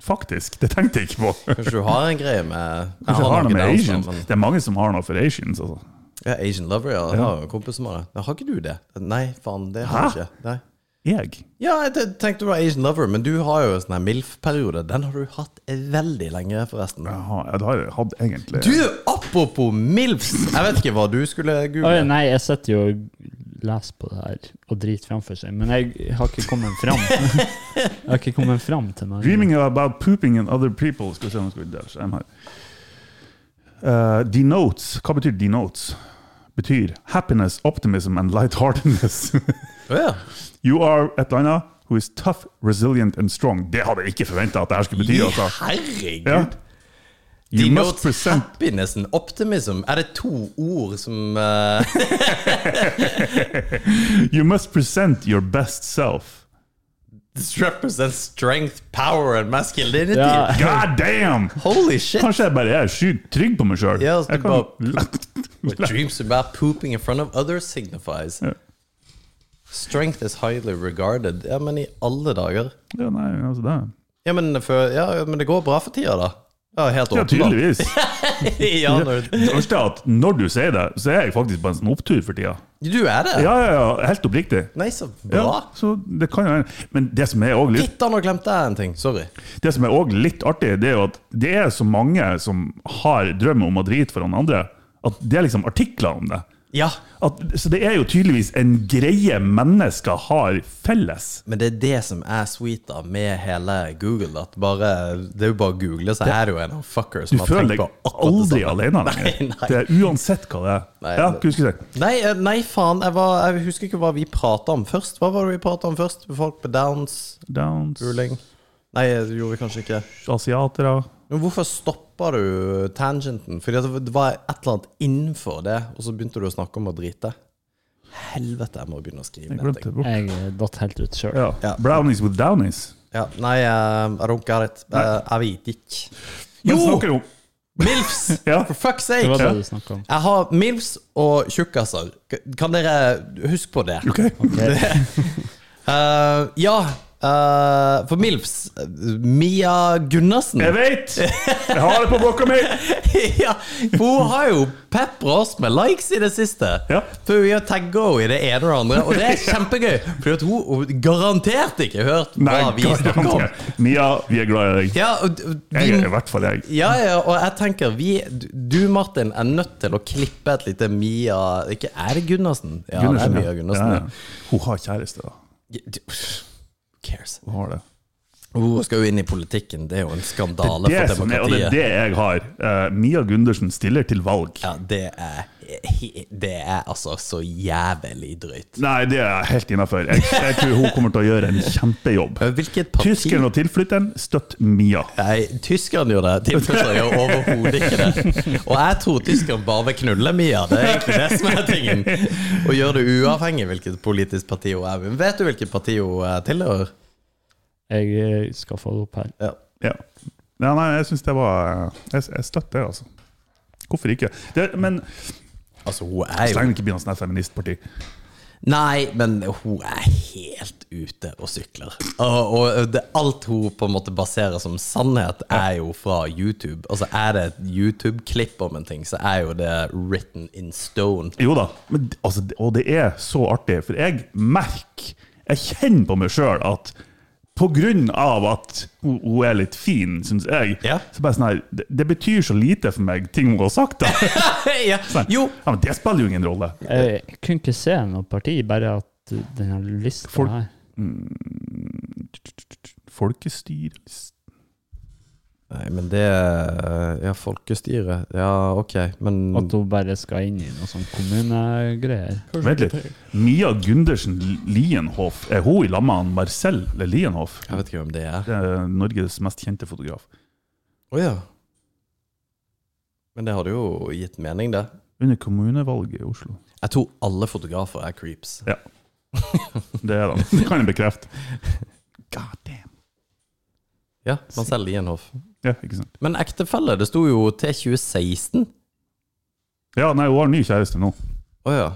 S1: faktisk. Det tenkte jeg ikke på.
S2: Kanskje du har en greie med Jeg
S1: Kanskje har noe med
S2: downs, da,
S1: Asians.
S2: men-
S1: Det er mange som har noe for Asians. Altså.
S2: Ja, Asian lover, ja. Jeg har jo en kompis som har det. Men Har ikke du det? Nei, faen, det har jeg ikke. Nei.
S1: Jeg?
S2: Ja, jeg te- tenkte du var Asian lover, men du har jo en sånn her MILF-periode. Den har du hatt veldig lenge, forresten.
S1: Jaha, ja, det har jeg hatt egentlig.
S2: Du, apropos MILFs! Jeg vet ikke hva du skulle
S3: Oi,
S2: google.
S3: nei, jeg sitter jo og leser på det her og driter framfor seg, men jeg har ikke kommet fram. Jeg har ikke kommet fram til meg.
S1: Dreaming about pooping and other people. Skal vi se om jeg skal der, så er jeg her. Eh, denotes. Hva betyr denotes? Betyr happiness, optimism and lightheartedness. *laughs*
S2: Å ja.
S1: you are et eller annet who is tough, resilient and strong. Det hadde jeg ikke forventa at det her skulle bety. Altså. Ja.
S2: Herregud!
S1: You must
S2: Denotes
S1: present
S2: happiness and optimism. Er det to ord som
S1: *laughs*
S2: eh,
S1: You must present your best self.
S2: represent strength, power and masculinity?
S3: Ja.
S1: God damn!
S2: Holy shit!
S1: Kanskje jeg bare er sykt trygg på meg sjøl.
S2: Ja, altså,
S1: Jeg
S2: du
S1: kan
S2: bare- What dreams about pooping in front of others signifies.
S1: Ja.
S2: Strength is highly regarded. Ja, men i alle dager.
S1: Ja, nei, altså det
S2: Ja, men, for, ja, men det går bra for tida, da. Ja, helt
S1: Ja,
S2: åpenbart.
S1: tydeligvis.
S2: *laughs* ja, når,
S1: Det verste er at når du sier det, så er jeg faktisk på en sånn opptur for tida.
S2: du er det?
S1: Ja, ja, ja, helt oppriktig.
S2: Nei, så bra.
S1: Ja, så det kan jo være. Men det som er også litt
S2: Litt av nå glemte jeg en ting. Sorry.
S1: Det som er også litt artig, det er jo at det er så mange som har drømmen om å drite for noen andre, at det er liksom artikler om det.
S2: Ja,
S1: At, så det er jo tydeligvis en greie mennesker har felles.
S2: men det er det som er sweet da med hele Google. At bare, det er jo bare å google, så er det jo en av fuckers
S1: Du føler deg aldri alene lenger.
S2: *laughs* Nei, nei.
S1: Det er uansett hva det er.
S2: Nei,
S1: ja,
S2: det-
S1: hva skulle jeg si?
S2: Nei, eh, nei faen. Jeg, var, jeg husker ikke hva vi prata om først. Hva var det vi prata om først? Folk med downs?
S1: Downs,
S2: Ruling. Nei, det gjorde vi kanskje ikke.
S1: asiatere
S2: Men hvorfor stoppa du tangenten? Fordi at det var et eller annet innenfor det, og så begynte du å snakke om å drite. Helvete, jeg må begynne å skrive
S1: Jeg
S2: ned
S1: glemte
S2: ting.
S1: det bort.
S3: Jeg eh, datt helt ut sjøl.
S1: Ja.
S2: Ja.
S1: Brownies with downies.
S2: Ja, nei, eh, jeg runka litt. Eh, Jeg vet ikke.
S1: Men
S2: Jo!
S1: snakker om
S2: Milfs!
S1: *laughs* Ja.
S2: For fuck's
S3: Det var sånn-
S2: sake!
S3: det du snakka om.
S2: Jeg har milfs og tjukkaser. Kan dere huske på det?
S1: Ok.
S3: Ok.
S2: *laughs* Eh, ja, eh, for milfs eh, Mia Gunnarsen.
S1: Jeg vet! Jeg har det på blokka mi!
S2: *laughs* ja, for hun har jo pepra oss med likes i det siste.
S1: Ja.
S2: For vi har tagga henne i det ene og det andre, og det er kjempegøy. For at hun hun garantert ikke har hørt
S1: Nei,
S2: hva vi snakker om.
S1: garanter. Mia, vi er glad i deg.
S2: Ja, og d-
S1: Jeg er i
S2: vi,
S1: hvert fall jeg.
S2: ja, ja, og jeg tenker vi Du, Martin, er nødt til å klippe et lite Mia ikke, Er det Gunnarsen? Ja, det er
S1: Gundersen,
S2: Mia Gunnarsen.
S1: Hun har kjæreste, da.
S2: Ja. Who cares?
S1: Hun har det.
S2: Hun skal jo inn i politikken. Det er jo en skandale
S1: Det
S2: for
S1: som er, og det
S2: demokratiet.
S1: er det jeg har. Eh, Mia Gundersen stiller til valg.
S2: Ja, det er Det er altså så jævlig drøyt.
S1: Nei, det er jeg helt innafor. Jeg, jeg tror hun kommer til å gjøre en kjempejobb.
S2: Hvilket *laughs* parti
S1: Tyskeren og tilflytteren, støtt Mia.
S2: Nei, tyskerne gjorde det. Tilfellene gjør overhodet ikke det. Og jeg tror tyskerne bare vil knulle Mia. Det er egentlig det som er tingen. Og gjør det uavhengig hvilket politisk parti hun er. Men vet du hvilket parti hun eh, tilhører?
S3: Jeg eh, skal få det opp her.
S2: Ja.
S1: Ja. Nei, nei, jeg syns det var Jeg, jeg støtter det, altså. Hvorfor ikke? Det, men
S2: Altså, hun er
S1: så
S2: jo
S1: lenge det ikke blir noe sånt feministparti.
S2: Nei, men hun er helt ute og sykler. Og, og det, alt hun på en måte baserer som sannhet, er jo fra YouTube. Altså Er det et YouTube-klipp om en ting, så er jo det written in stone. *laughs*
S1: Jo da, men, d- altså, det- og det er så artig, for jeg merker Jeg kjenner på meg sjøl at på grunn av at hun, hun er litt fin, syns jeg,
S2: Ja.
S1: så bare sånn her det, det betyr så lite for meg, ting hun har
S2: *laughs*
S1: sagt. da Sånn
S2: ja. Jo,
S1: Ja, men Det spiller jo ingen rolle.
S3: Jeg, jeg kunne ikke se noe parti, bare at denne lista
S1: Folk-
S3: her
S1: Mm. Folkestyre
S2: Nei, men det Ja, folkestyre. Ja, ok, men
S3: At hun bare skal inn i noe sånn kommunegreier.
S1: Vent litt. Mia Gundersen Lienhoff, er hun i lag med han Marcel Lienhoff?
S2: Jeg vet ikke hvem det er.
S1: Det er Norges mest kjente fotograf.
S2: Å ja. Men det hadde jo gitt mening, det.
S1: Under kommunevalget i Oslo.
S2: Jeg tror alle fotografer er creeps.
S1: Ja. Det er han. Det kan jeg bekrefte. God damn.
S2: Ja, Marcel Lienhoff.
S1: Ja, ikke sant.
S2: Men ektefelle, det sto jo til 2016.
S1: Ja, nei, hun har ny kjæreste nå.
S2: Å ja.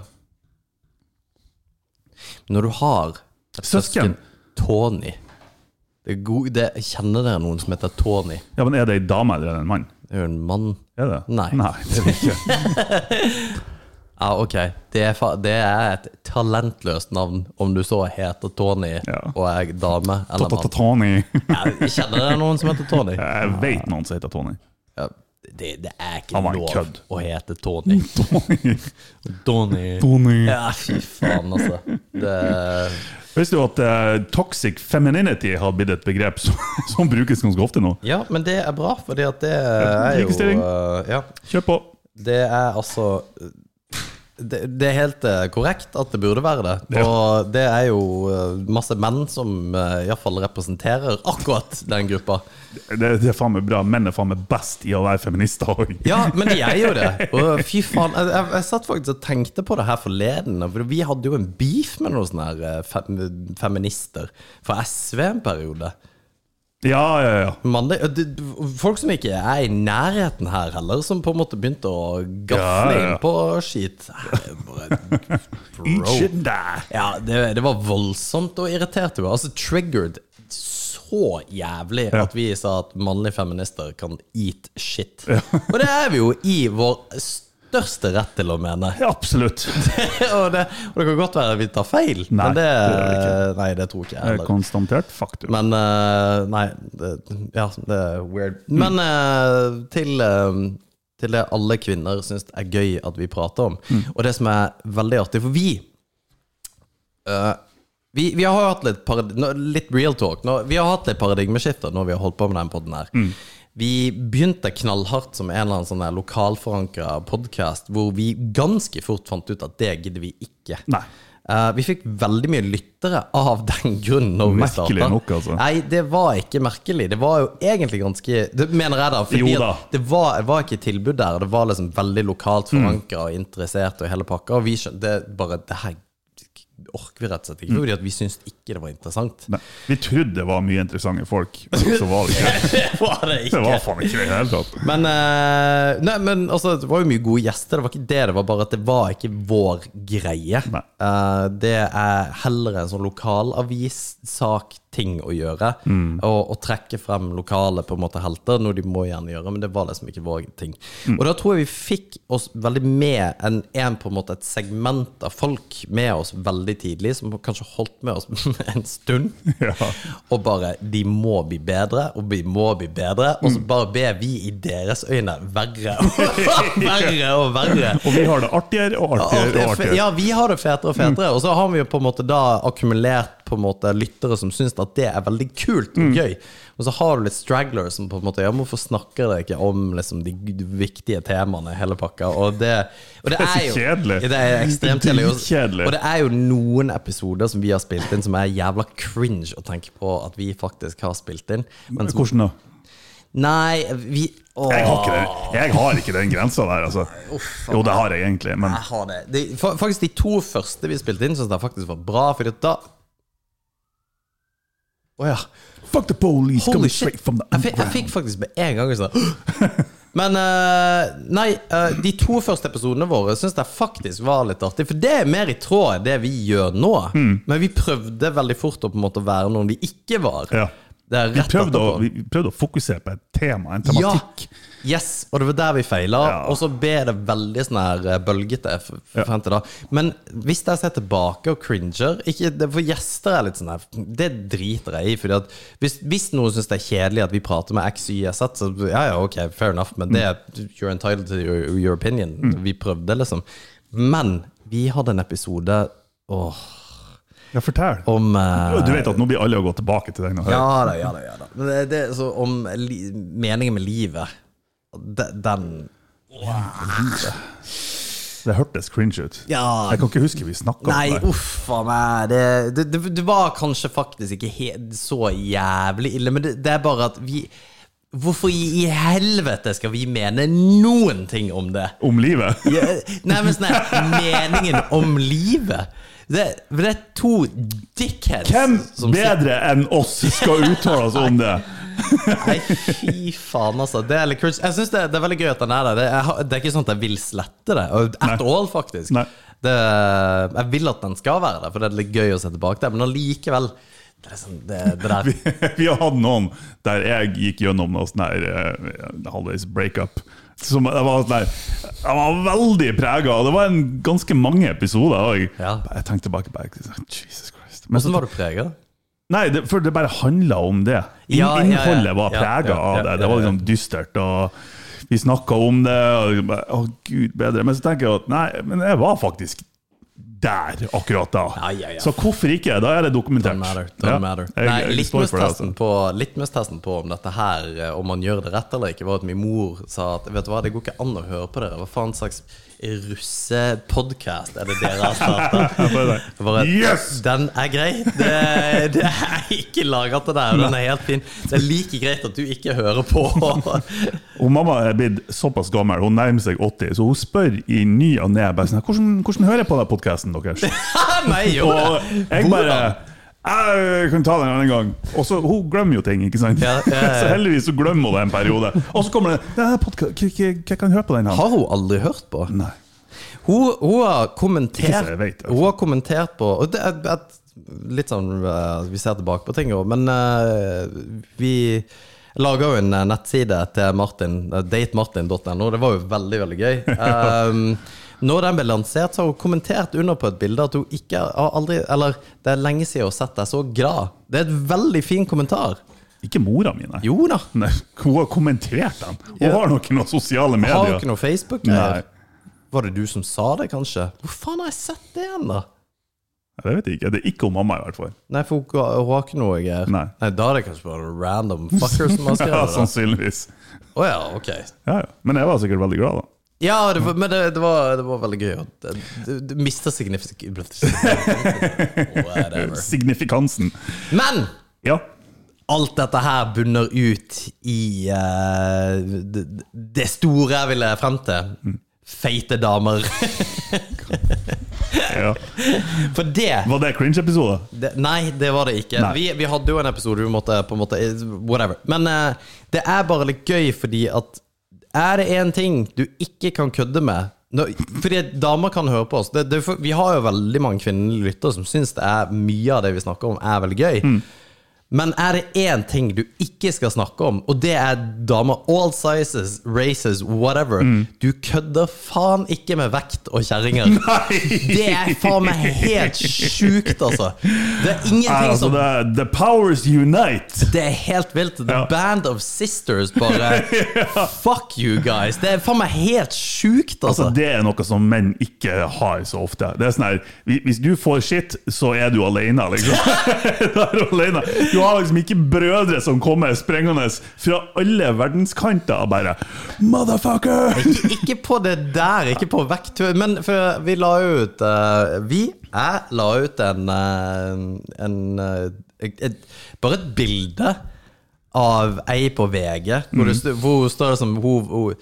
S2: Når du har et
S1: Søsken.
S2: Tony det er god, det, Kjenner dere noen som heter Tony?
S1: Ja, men Er det ei dame eller er det en mann?
S2: Det er jo en mann.
S1: Er det?
S2: Nei.
S1: nei det er det ikke.
S2: Ja, ok. Det er, fa det er et talentløst navn, om du så heter Tony
S1: Ja.
S2: og er dame *laughs* eller mann.
S1: Ta-ta-ta-Tony.
S2: Ja, Kjenner dere noen som heter Tony?
S1: Jeg vet noen som heter Tony.
S2: Ja, det, det er ikke
S1: Han var en
S2: lov
S1: kødd.
S2: å hete Tony.
S1: Tony.
S2: Tony.
S1: Tony.
S2: Ja, fy faen, altså. Det,
S1: Visste du at eh, toxic femininity har blitt et begrep som, *laughs* som brukes ganske ofte nå?
S2: ja, men det er bra, fordi at det er jo
S1: likestilling.
S2: eh, Ja,
S1: Kjør på.
S2: det er altså det, det er helt eh, korrekt at det burde være det.
S1: Ja.
S2: Og det er jo eh, masse menn som eh, iallfall representerer akkurat den gruppa.
S1: Det, det er faen meg bra. Menn er faen meg best i å være feminister òg.
S2: Ja, men de er jo det. Og fy faen, jeg, jeg, jeg satt faktisk og tenkte på det her forleden. For vi hadde jo en beef med noen sånne her eh, fem, feminister fra SV en periode.
S1: Ja, ja, ja.
S2: Men det, det- folk som ikke er i nærheten her heller, som på en måte begynte å
S1: Ja,
S2: gafle
S1: ja.
S2: inn på skit. Jeg bare-
S1: *laughs* Eat
S2: Bro.
S1: shit and die.
S2: Ja, det, det var voldsomt og irriterte meg. Altså triggered så jævlig at vi sa at mannlige feminister kan eat shit. Og det er vi jo i vår største rett til å mene. *laughs*
S1: Ja, Absolutt.
S2: og, det, og det kan godt være vi tar feil,
S1: Nei,
S2: men det,
S1: det gjør vi
S2: nei, det tror ikke jeg
S1: Det er
S2: heller.
S1: konstatert faktum.
S2: Men eh, Nei, det, ja, det er weird. Men eh, til, eh, til det alle kvinner syns er gøy at vi prater om, og det som er veldig artig For vi eh, vi, vi har hatt litt, parad- nå- litt real talk. Nå, vi har hatt litt paradigmeskifter når vi har holdt på med den podden her. Vi begynte knallhardt som en eller annen sånn lokalforankra podkast, hvor vi ganske fort fant ut at det gidder vi ikke.
S1: Nei.
S2: Eh, vi fikk veldig mye lyttere av den grunn. når vi
S1: Merkelig
S2: startet.
S1: nok, altså.
S2: Nei, det var ikke merkelig. Det var jo egentlig ganske Det mener jeg, da. Fordi
S1: Jo da.
S2: at det var, det var ikke tilbud der. og Det var liksom veldig
S1: Mm.
S2: lokalt forankra og interessert og hele pakka. Og vi skjønte det bare Det her orker vi rett og slett
S1: Mm.
S2: ikke. Fordi at vi syntes ikke det var interessant.
S1: Nei. Vi trodde det var mye interessante folk, men så var det ikke det.
S2: *laughs* Det var det
S1: Det
S2: ikke.
S1: var faen ikke det i det hele tatt.
S2: Men, eh, nei, men altså, det var jo mye gode gjester. Det var ikke det, det var bare at det var ikke vår greie.
S1: Nei.
S2: Eh, det er heller en sånn lokalavissak-ting å gjøre. Å å trekke frem lokale på en måte helter, noe de må gjerne gjøre, men det var liksom ikke vår ting. Og da tror jeg vi fikk oss veldig med en, en på en måte et segment av folk med oss veldig tidlig, som kanskje holdt med oss *laughs* en stund. Og bare De må bli bedre, og vi må bli bedre. Og så bare ber vi i deres øyne verre og *laughs* verre og verre.
S1: Og vi har det artigere og Mm. artigere og
S2: Ja,
S1: artigere.
S2: Ja, vi har det fetere og fetere. Og så har vi jo på en måte da akkumulert på en måte lyttere som syns at det er veldig kult
S1: Mm.
S2: og gøy. Og så har du litt stragglers som på en måte Ja, men hvorfor snakker dere ikke om liksom, de g- viktige temaene i hele pakka? Og det, og det
S1: Det er så
S2: jo
S1: kjedelig.
S2: Det er ekstremt
S1: Det er
S2: kjedelig.
S1: dritkjedelig.
S2: Og, og det er jo noen episoder som vi har spilt inn som er jævla cringe å tenke på at vi faktisk har spilt inn. Mens,
S1: Hvordan da?
S2: nei, vi åh.
S1: Jeg har ikke den, jeg har ikke den grensa der, altså. Jo, det har jeg egentlig, men
S2: Jeg har det. De, fa- faktisk de to første vi spilte inn, syns jeg faktisk var bra. Fordi at da Å ja.
S1: Fuck the police,
S2: Holy
S1: coming
S2: shit.
S1: straight from the
S2: Jeg fikk, jeg fikk faktisk med en gang sånn *gasps* Men eh, Nei, eh, de to første episodene våre syns jeg faktisk var litt artig. For det er mer i tråd med det vi gjør nå.
S1: Mm.
S2: Men vi prøvde veldig fort å på en måte være noen vi ikke var.
S1: Ja.
S2: Det er
S1: Vi
S2: rett
S1: prøvde, å,
S2: etterpå.
S1: vi prøvde å fokusere på et tema, en tematikk.
S2: Ja. Yes, og det var der vi feila.
S1: Ja.
S2: Og så ble det veldig sånn her eh, bølgete. f- f- frem til da Men hvis jeg ser tilbake og cringer ikke, det, For gjester er litt sånn her Det driter jeg i. Fordi at hvis, hvis noen syns det er kjedelig at vi prater med X, Y, Z, så ja ja, ok, fair enough. Men det you're entitled to your, your opinion. Vi prøvde, liksom. Men vi hadde en episode åh,
S1: Ja, fortell.
S2: om eh,
S1: Du vet at nå blir alle å gå tilbake til den. og høre.
S2: ja da, ja da. ja da Men det, det er så om li, meningen med livet De- Den
S1: Det hørtes cringe ut.
S2: Ja.
S1: Jeg kan ikke huske vi snakka om
S2: Nei,
S1: det.
S2: uff a meg. Det, det, det, det var kanskje faktisk ikke he- så jævlig ille, men det, det er bare at vi Hvorfor i i helvete skal vi mene noen ting om det?
S1: Om livet.
S2: Ja, Nei, men sånn her, meningen om livet Det, for det er to dickheads
S1: Hvem
S2: som sitter-
S1: bedre enn oss skal uttale oss om det?
S2: Nei, fy faen, altså. Det er litt cringe. Jeg syns det, det er veldig gøy at den er der. Det er, jeg har- det er ikke sånn at jeg vil slette det. og At
S1: Nei.
S2: all, faktisk.
S1: Nei.
S2: Det, jeg vil at den skal være der, for det er litt gøy å se tilbake der. Men allikevel det, er sånn, det, det der
S1: *laughs* Vi har hatt noen der jeg gikk gjennom noe sånn her eh, halvveis breakup. Som jeg var, sånn her- jeg var veldig prega, og det var en ganske mange episoder òg.
S2: Ja.
S1: Jeg tenkte tilbake på det. Jesus Christ. Men
S2: Hvordan
S1: så,
S2: var du prega?
S1: nei, det, for det bare handla om det. In,
S2: Ja, ja, ja.
S1: Innholdet var
S2: Ja,
S1: prega
S2: ja, ja,
S1: av det. Det
S2: ja,
S1: var
S2: ja.
S1: liksom dystert. og Vi snakka om det, og jeg bare, å gud bedre. Men så tenker jeg at nei, men jeg var faktisk der akkurat da.
S2: Ja, ja, ja.
S1: Så hvorfor ikke? Da er det dokumentert.
S2: Don't matter.
S1: Ja.
S2: Don't matter.
S1: Jeg-
S2: Nei,
S1: jeg står for det, altså.
S2: litmus-testen på, litmus-testen på om dette her, eh, om man gjør det rett eller ikke, var at min mor sa at vet du hva, det går ikke an å høre på dere. Hva faen slags russepodkast er det dere har starta? Jeg Bare,
S1: Yes!
S2: Den er grei. Det, det er ikke laga til deg, og den er helt fin. Det er like greit at du ikke hører på. *laughs*
S1: Og mamma er blitt såpass gammel, hun nærmer seg 80, så hun spør i ny og ne bare sånn, hvordan, hvordan hører jeg på den podkasten deres?
S2: Nei, *laughs* jo.
S1: Og jeg bare jeg kan ta den en annen gang. Og så, Hun glemmer jo ting, ikke sant?
S2: Ja, ja, ja.
S1: *laughs* Så heldigvis så glemmer hun det en periode. Og så kommer det «Denne podca- hva- hva- hva kan jeg høre på den? her?»
S2: Har hun aldri hørt på?
S1: Nei.
S2: Hun, hun har
S1: Ikke
S2: kommentert
S1: så jeg vet, altså.
S2: Hun har kommentert på og det, er- at, Litt sånn eh, Vi ser tilbake på ting, jo, men eh, vi laga jo en eh, nettside til Martin, eh, datemartin.no. Det var jo veldig, veldig gøy.
S1: *laughs*
S2: Um, når den ble lansert, så har hun kommentert under på et bilde at hun ikke har aldri Eller det er lenge siden hun har sett deg så glad. Det er et veldig fin kommentar.
S1: Ikke mora mi, nei.
S2: Jo da.
S1: Nei, Hun har kommentert den. Hun har nok noen sosiale
S2: Har hun
S1: medier.
S2: ikke noe
S1: Nei,
S2: Facebook-greier? Var det du som sa det, kanskje? Hvor faen har jeg sett det igjen, da?
S1: det vet jeg ikke. Det er ikke hun mamma, i hvert fall.
S2: Nei, for hun har- hun har ikke noe greier.
S1: Nei.
S2: da er det kanskje bare
S1: *laughs*
S2: random fucker som har
S1: Ja, sånn.
S2: skrevet det.
S1: sannsynligvis.
S2: Å ja, ok.
S1: Ja, ja. Men jeg var sikkert veldig glad, da.
S2: Ja, det var, men det, det, var, det var veldig gøy. og Det, det, det mista
S1: *laughs*
S2: Whatever.
S1: Signifikansen.
S2: Men
S1: Ja.
S2: alt dette her bunner ut i eh, det, det store jeg ville frem
S1: Mm.
S2: til. Feite damer. *laughs*
S1: ja.
S2: For det
S1: Var det cringe-episode?
S2: det, Nei, det var det ikke.
S1: Nei.
S2: Vi, vi hadde jo en episode vi måtte på en måte Whatever. Men eh, det er bare litt gøy fordi at er det én ting du ikke kan kødde med nå- Fordi damer kan høre på oss. Det, det, er for- vi har jo veldig mange kvinnelige lyttere som syns det er mye av det vi snakker om, er veldig gøy. Men er det én ting du ikke skal snakke om, og det er damer all sizes, races, whatever Du kødder faen ikke med vekt og kjerringer. Det er faen meg helt sjukt, altså. Det er ingenting
S1: Nei, altså,
S2: som
S1: det er The powers unite!
S2: det er helt vilt. The
S1: Ja.
S2: Band of Sisters
S1: *laughs*
S2: bare Fuck you guys! Det er faen meg helt sjukt, altså.
S1: Altså, det er noe som menn ikke har så ofte. Det er sånn her, hvi- Hvis du får shit, så er du alene,
S2: *laughs*
S1: liksom. *laughs* da er du alene. Du har liksom ikke brødre som kommer sprengende fra alle verdenskanter og bare Motherfucker!
S2: ikke på det der, ikke på vekttur. Men for vi la jo ut eh, Vi, jeg la ut en, eh, en eh, et, et, Bare et bilde av ei på VG, hvor,
S1: Mhm.
S2: det, sto- hvor hun står det som hun, hun,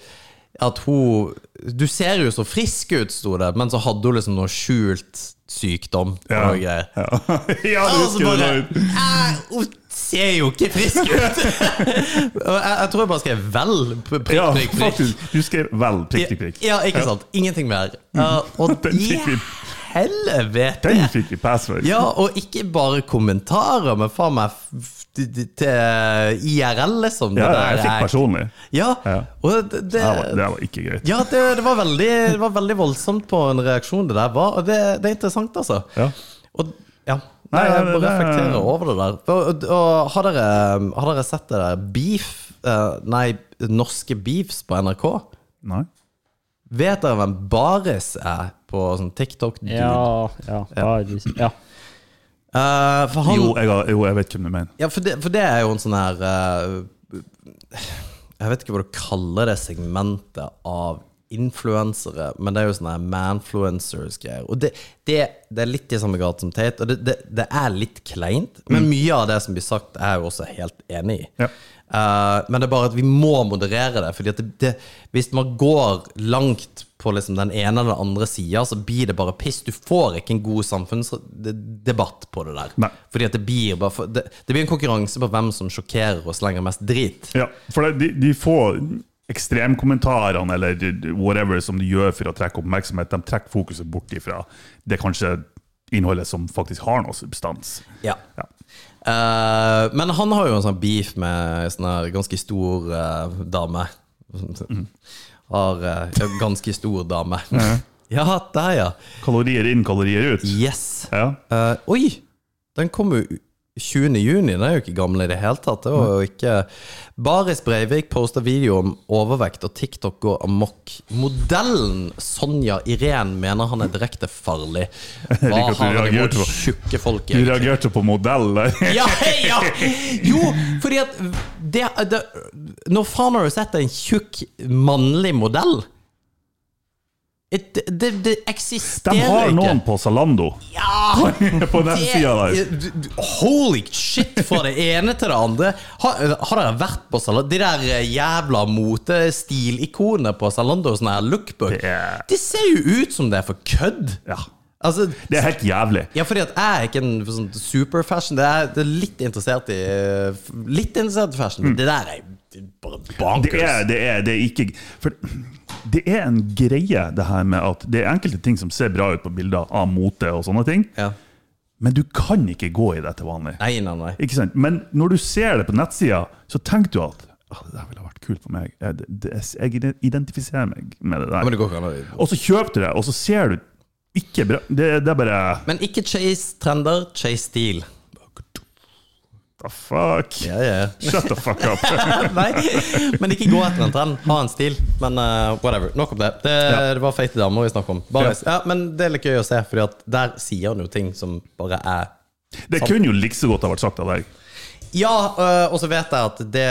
S2: At hun Du ser jo så frisk ut, sto det, men så hadde hun liksom noe skjult sykdom. og
S1: Ja.
S2: noe greier.
S1: *laughs* Ja, ja du
S2: Og så
S1: husker
S2: altså,
S1: det.
S2: bare
S1: da.
S2: «Æ, Hun ser jo ikke frisk ut!
S1: *laughs*
S2: Og jeg, jeg tror jeg bare skrev 'vel'. Prikk,
S1: Ja,
S2: prikk, prikk.
S1: faktisk. Du skrev vel prikk, prikk, prikk.
S2: Ja, ikke sant. Ingenting mer. Uh, og
S1: Mm. *laughs* Den
S2: i
S1: fikk vi.
S2: helvete!
S1: Den fikk vi pass for.
S2: Ja, og ikke bare kommentarer, men faen meg f- t- t- til IRL, liksom.
S1: Ja,
S2: det
S1: jeg
S2: der
S1: fikk
S2: er-
S1: personlig.
S2: Ja,
S1: Ja.
S2: og det,
S1: Det var,
S2: det
S1: det var ikke greit.
S2: ja, det, det, var veldig, det var veldig voldsomt på en reaksjon det der var, og det, det er interessant, altså.
S1: Ja.
S2: Og ja,
S1: Nei,
S2: Nei, jeg bare
S1: det- det-
S2: reflekterer over det der. Og, og, og har, dere, har dere sett det der Beef? eh, nei, Norske Beefs på NRK?
S1: Nei.
S2: Vet dere hvem Baris er på sånn TikTok? dude?
S3: Ja, ja, har vi- ja.
S2: Eh, for han,
S1: Jo, jeg, har- jo, jeg vet hvem du mener.
S2: Ja, for det, for det er jo en sånn her eh, Jeg vet ikke hva du kaller det segmentet av influensere, men det er jo sånne her manfluencers-greier. Og det, det, det er litt i samme grad som Tate, og det, det, det er litt kleint, men mye av det som blir sagt, er jeg jo også helt enig i.
S1: Ja.
S2: Eh, men det er bare at vi må moderere det. Fordi at det, det, hvis man går langt på liksom den ene eller den andre sida, så blir det bare piss. Du får ikke en god samfunnsdebatt på det der.
S1: Nei.
S2: Fordi at det blir bare for, det, det blir en konkurranse på hvem som sjokkerer og slenger mest drit.
S1: Ja, for det, de, de få ekstremkommentarene eller d- d- whatever som de gjør for å trekke oppmerksomhet, de trekker fokuset bort ifra det kanskje innholdet som faktisk har noe substans.
S2: Ja.
S1: Ja.
S2: Eh, men han har jo en sånn beef med en sånn her ganske stor eh, dame.
S1: Mhm.
S2: Har eh, ja, ganske stor dame. *laughs* ja, der, ja.
S1: Kalorier inn, kalorier ut.
S2: Yes.
S1: Ja.
S2: Eh, oi! Den kom jo 20. juni, den er jo ikke gammel i det hele tatt. Det var jo ikke Baris Breivik posta video om overvekt, og TikTok går amok. Modellen Sonja Irén mener han er direkte
S1: *laughs*
S2: farlig. Hva
S1: liker at du
S2: har han
S1: reagerte
S2: imot
S1: på-
S2: tjukke folk?
S1: Du
S2: egentlig?
S1: reagerte på modell der.
S2: Ja, ja! Jo, fordi at det, det, Når faen har du sett en tjukk, mannlig modell? Et- Det, det, det eksisterer
S1: De
S2: ikke.
S1: har noen på Zalando. på den
S2: Ah! Det-
S1: sida der.
S2: du- du- Holy shit, fra det ene til det andre. Har, har dere vært på Zalando? De der eh, jævla motestilikonene på Zalando, sånn her lookbook,
S1: Det er-
S2: de ser jo ut som det er for kødd.
S1: Ja.
S2: Altså,
S1: Det er helt jævlig.
S2: ja, fordi at jeg er ikke en sånn superfashion. Det er, det er litt interessert i eh, f- Litt interessert i fashion, men det der er jo bare
S1: Mm. Det
S2: bankers.
S1: er, det er, det er ikke For det er en greie, det her med at det er enkelte ting som ser bra ut på bilder av mote og sånne ting,
S2: Ja.
S1: men du kan ikke gå i det til vanlig.
S2: Nei, nei, nei.
S1: Ikke sant? Men når du ser det på nettsida, så tenker du at ah, det der ville vært kult for meg. Jeg, det, jeg identifiserer meg med det
S2: Men
S1: der.
S2: det går ikke an å
S1: Og så kjøper du det, og så ser du ikke bra Det, det er bare
S2: Men ikke chase trender, chase stil.
S1: The fuck?
S2: Ja, ja.
S1: Shut the fuck up.
S2: *laughs* Nei, men ikke gå etter en trend. Ha en stil. Men eh, whatever. Nok om det. Det, det var feite damer vi snakket om. Bare, ja. men det er litt gøy å se, Fordi at der sier han jo ting som bare er
S1: Det kunne jo like så godt ha vært sagt av deg.
S2: Ja, øh, og så vet jeg at det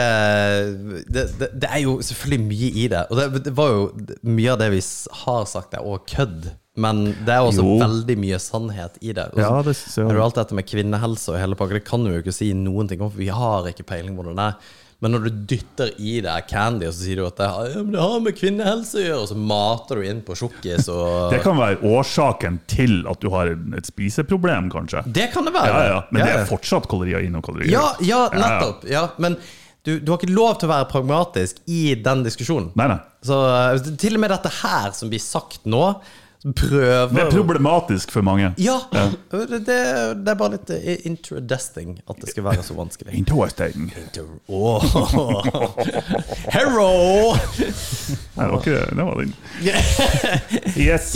S2: det, det det er jo selvfølgelig mye i det. Og det, det var jo mye av det vi s- har sagt, er òg kødd. Men det er også
S1: Jo.
S2: veldig mye sannhet i det. Og
S1: Ja,
S2: så
S1: det synes jeg også.
S2: er jo alt dette med kvinnehelse og hele pakka, det kan du jo ikke si noen ting om, for vi har ikke peiling på hvordan det er. Men når du dytter i deg candy, og så sier du at det, har- ja, men det har med kvinnehelse å gjøre, og så mater du inn på sjokkis og
S1: Det kan være årsaken til at du har en- et spiseproblem, kanskje.
S2: Det kan det være.
S1: Ja, ja, Men det
S2: Ja, ja.
S1: er fortsatt kalorier inn og kalorier
S2: Ja,
S1: ut.
S2: ja, nettopp. Ja, men du, du har ikke lov til å være pragmatisk i den diskusjonen.
S1: Nei, nei.
S2: Så eh, til og med dette her som blir sagt nå,
S1: Det er
S2: prøver
S1: problematisk for mange.
S2: Ja! Det, det er bare litt eh, introdesting at det skal være så vanskelig.
S1: Interesting.
S2: Åh. *laughs* Hero!
S1: Nei, det var ikke det. Det var den. *laughs* Yes.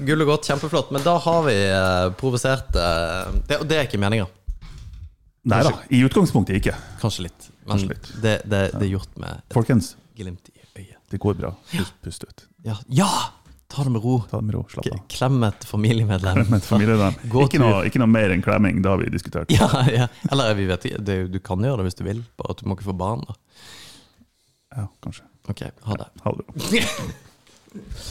S2: Gull og godt, kjempeflott. Men da har vi eh, provosert eh, det, og det er ikke meninga.
S1: Nei da. I utgangspunktet ikke.
S2: Kanskje litt. Men
S1: Kanskje litt.
S2: Det, det, det er gjort med et
S1: Folkens,
S2: glimt i øyet.
S1: det går bra. Pust, pust ut.
S2: Ja! ja! Ta det med ro.
S1: Ta det med ro. Slapp av.
S2: Klem et familiemedlem.
S1: Men familie, da.
S2: Gå
S1: Ikke, noe, ikke noe mer enn klemming, det har vi diskutert.
S2: *laughs* Ja, ja. Eller vi vet ikke. Det, er jo- du kan gjøre det hvis du vil, bare at du må ikke få barn. da.
S1: Ja, kanskje.
S2: Ok, ha det. *laughs*
S1: Ha det bra.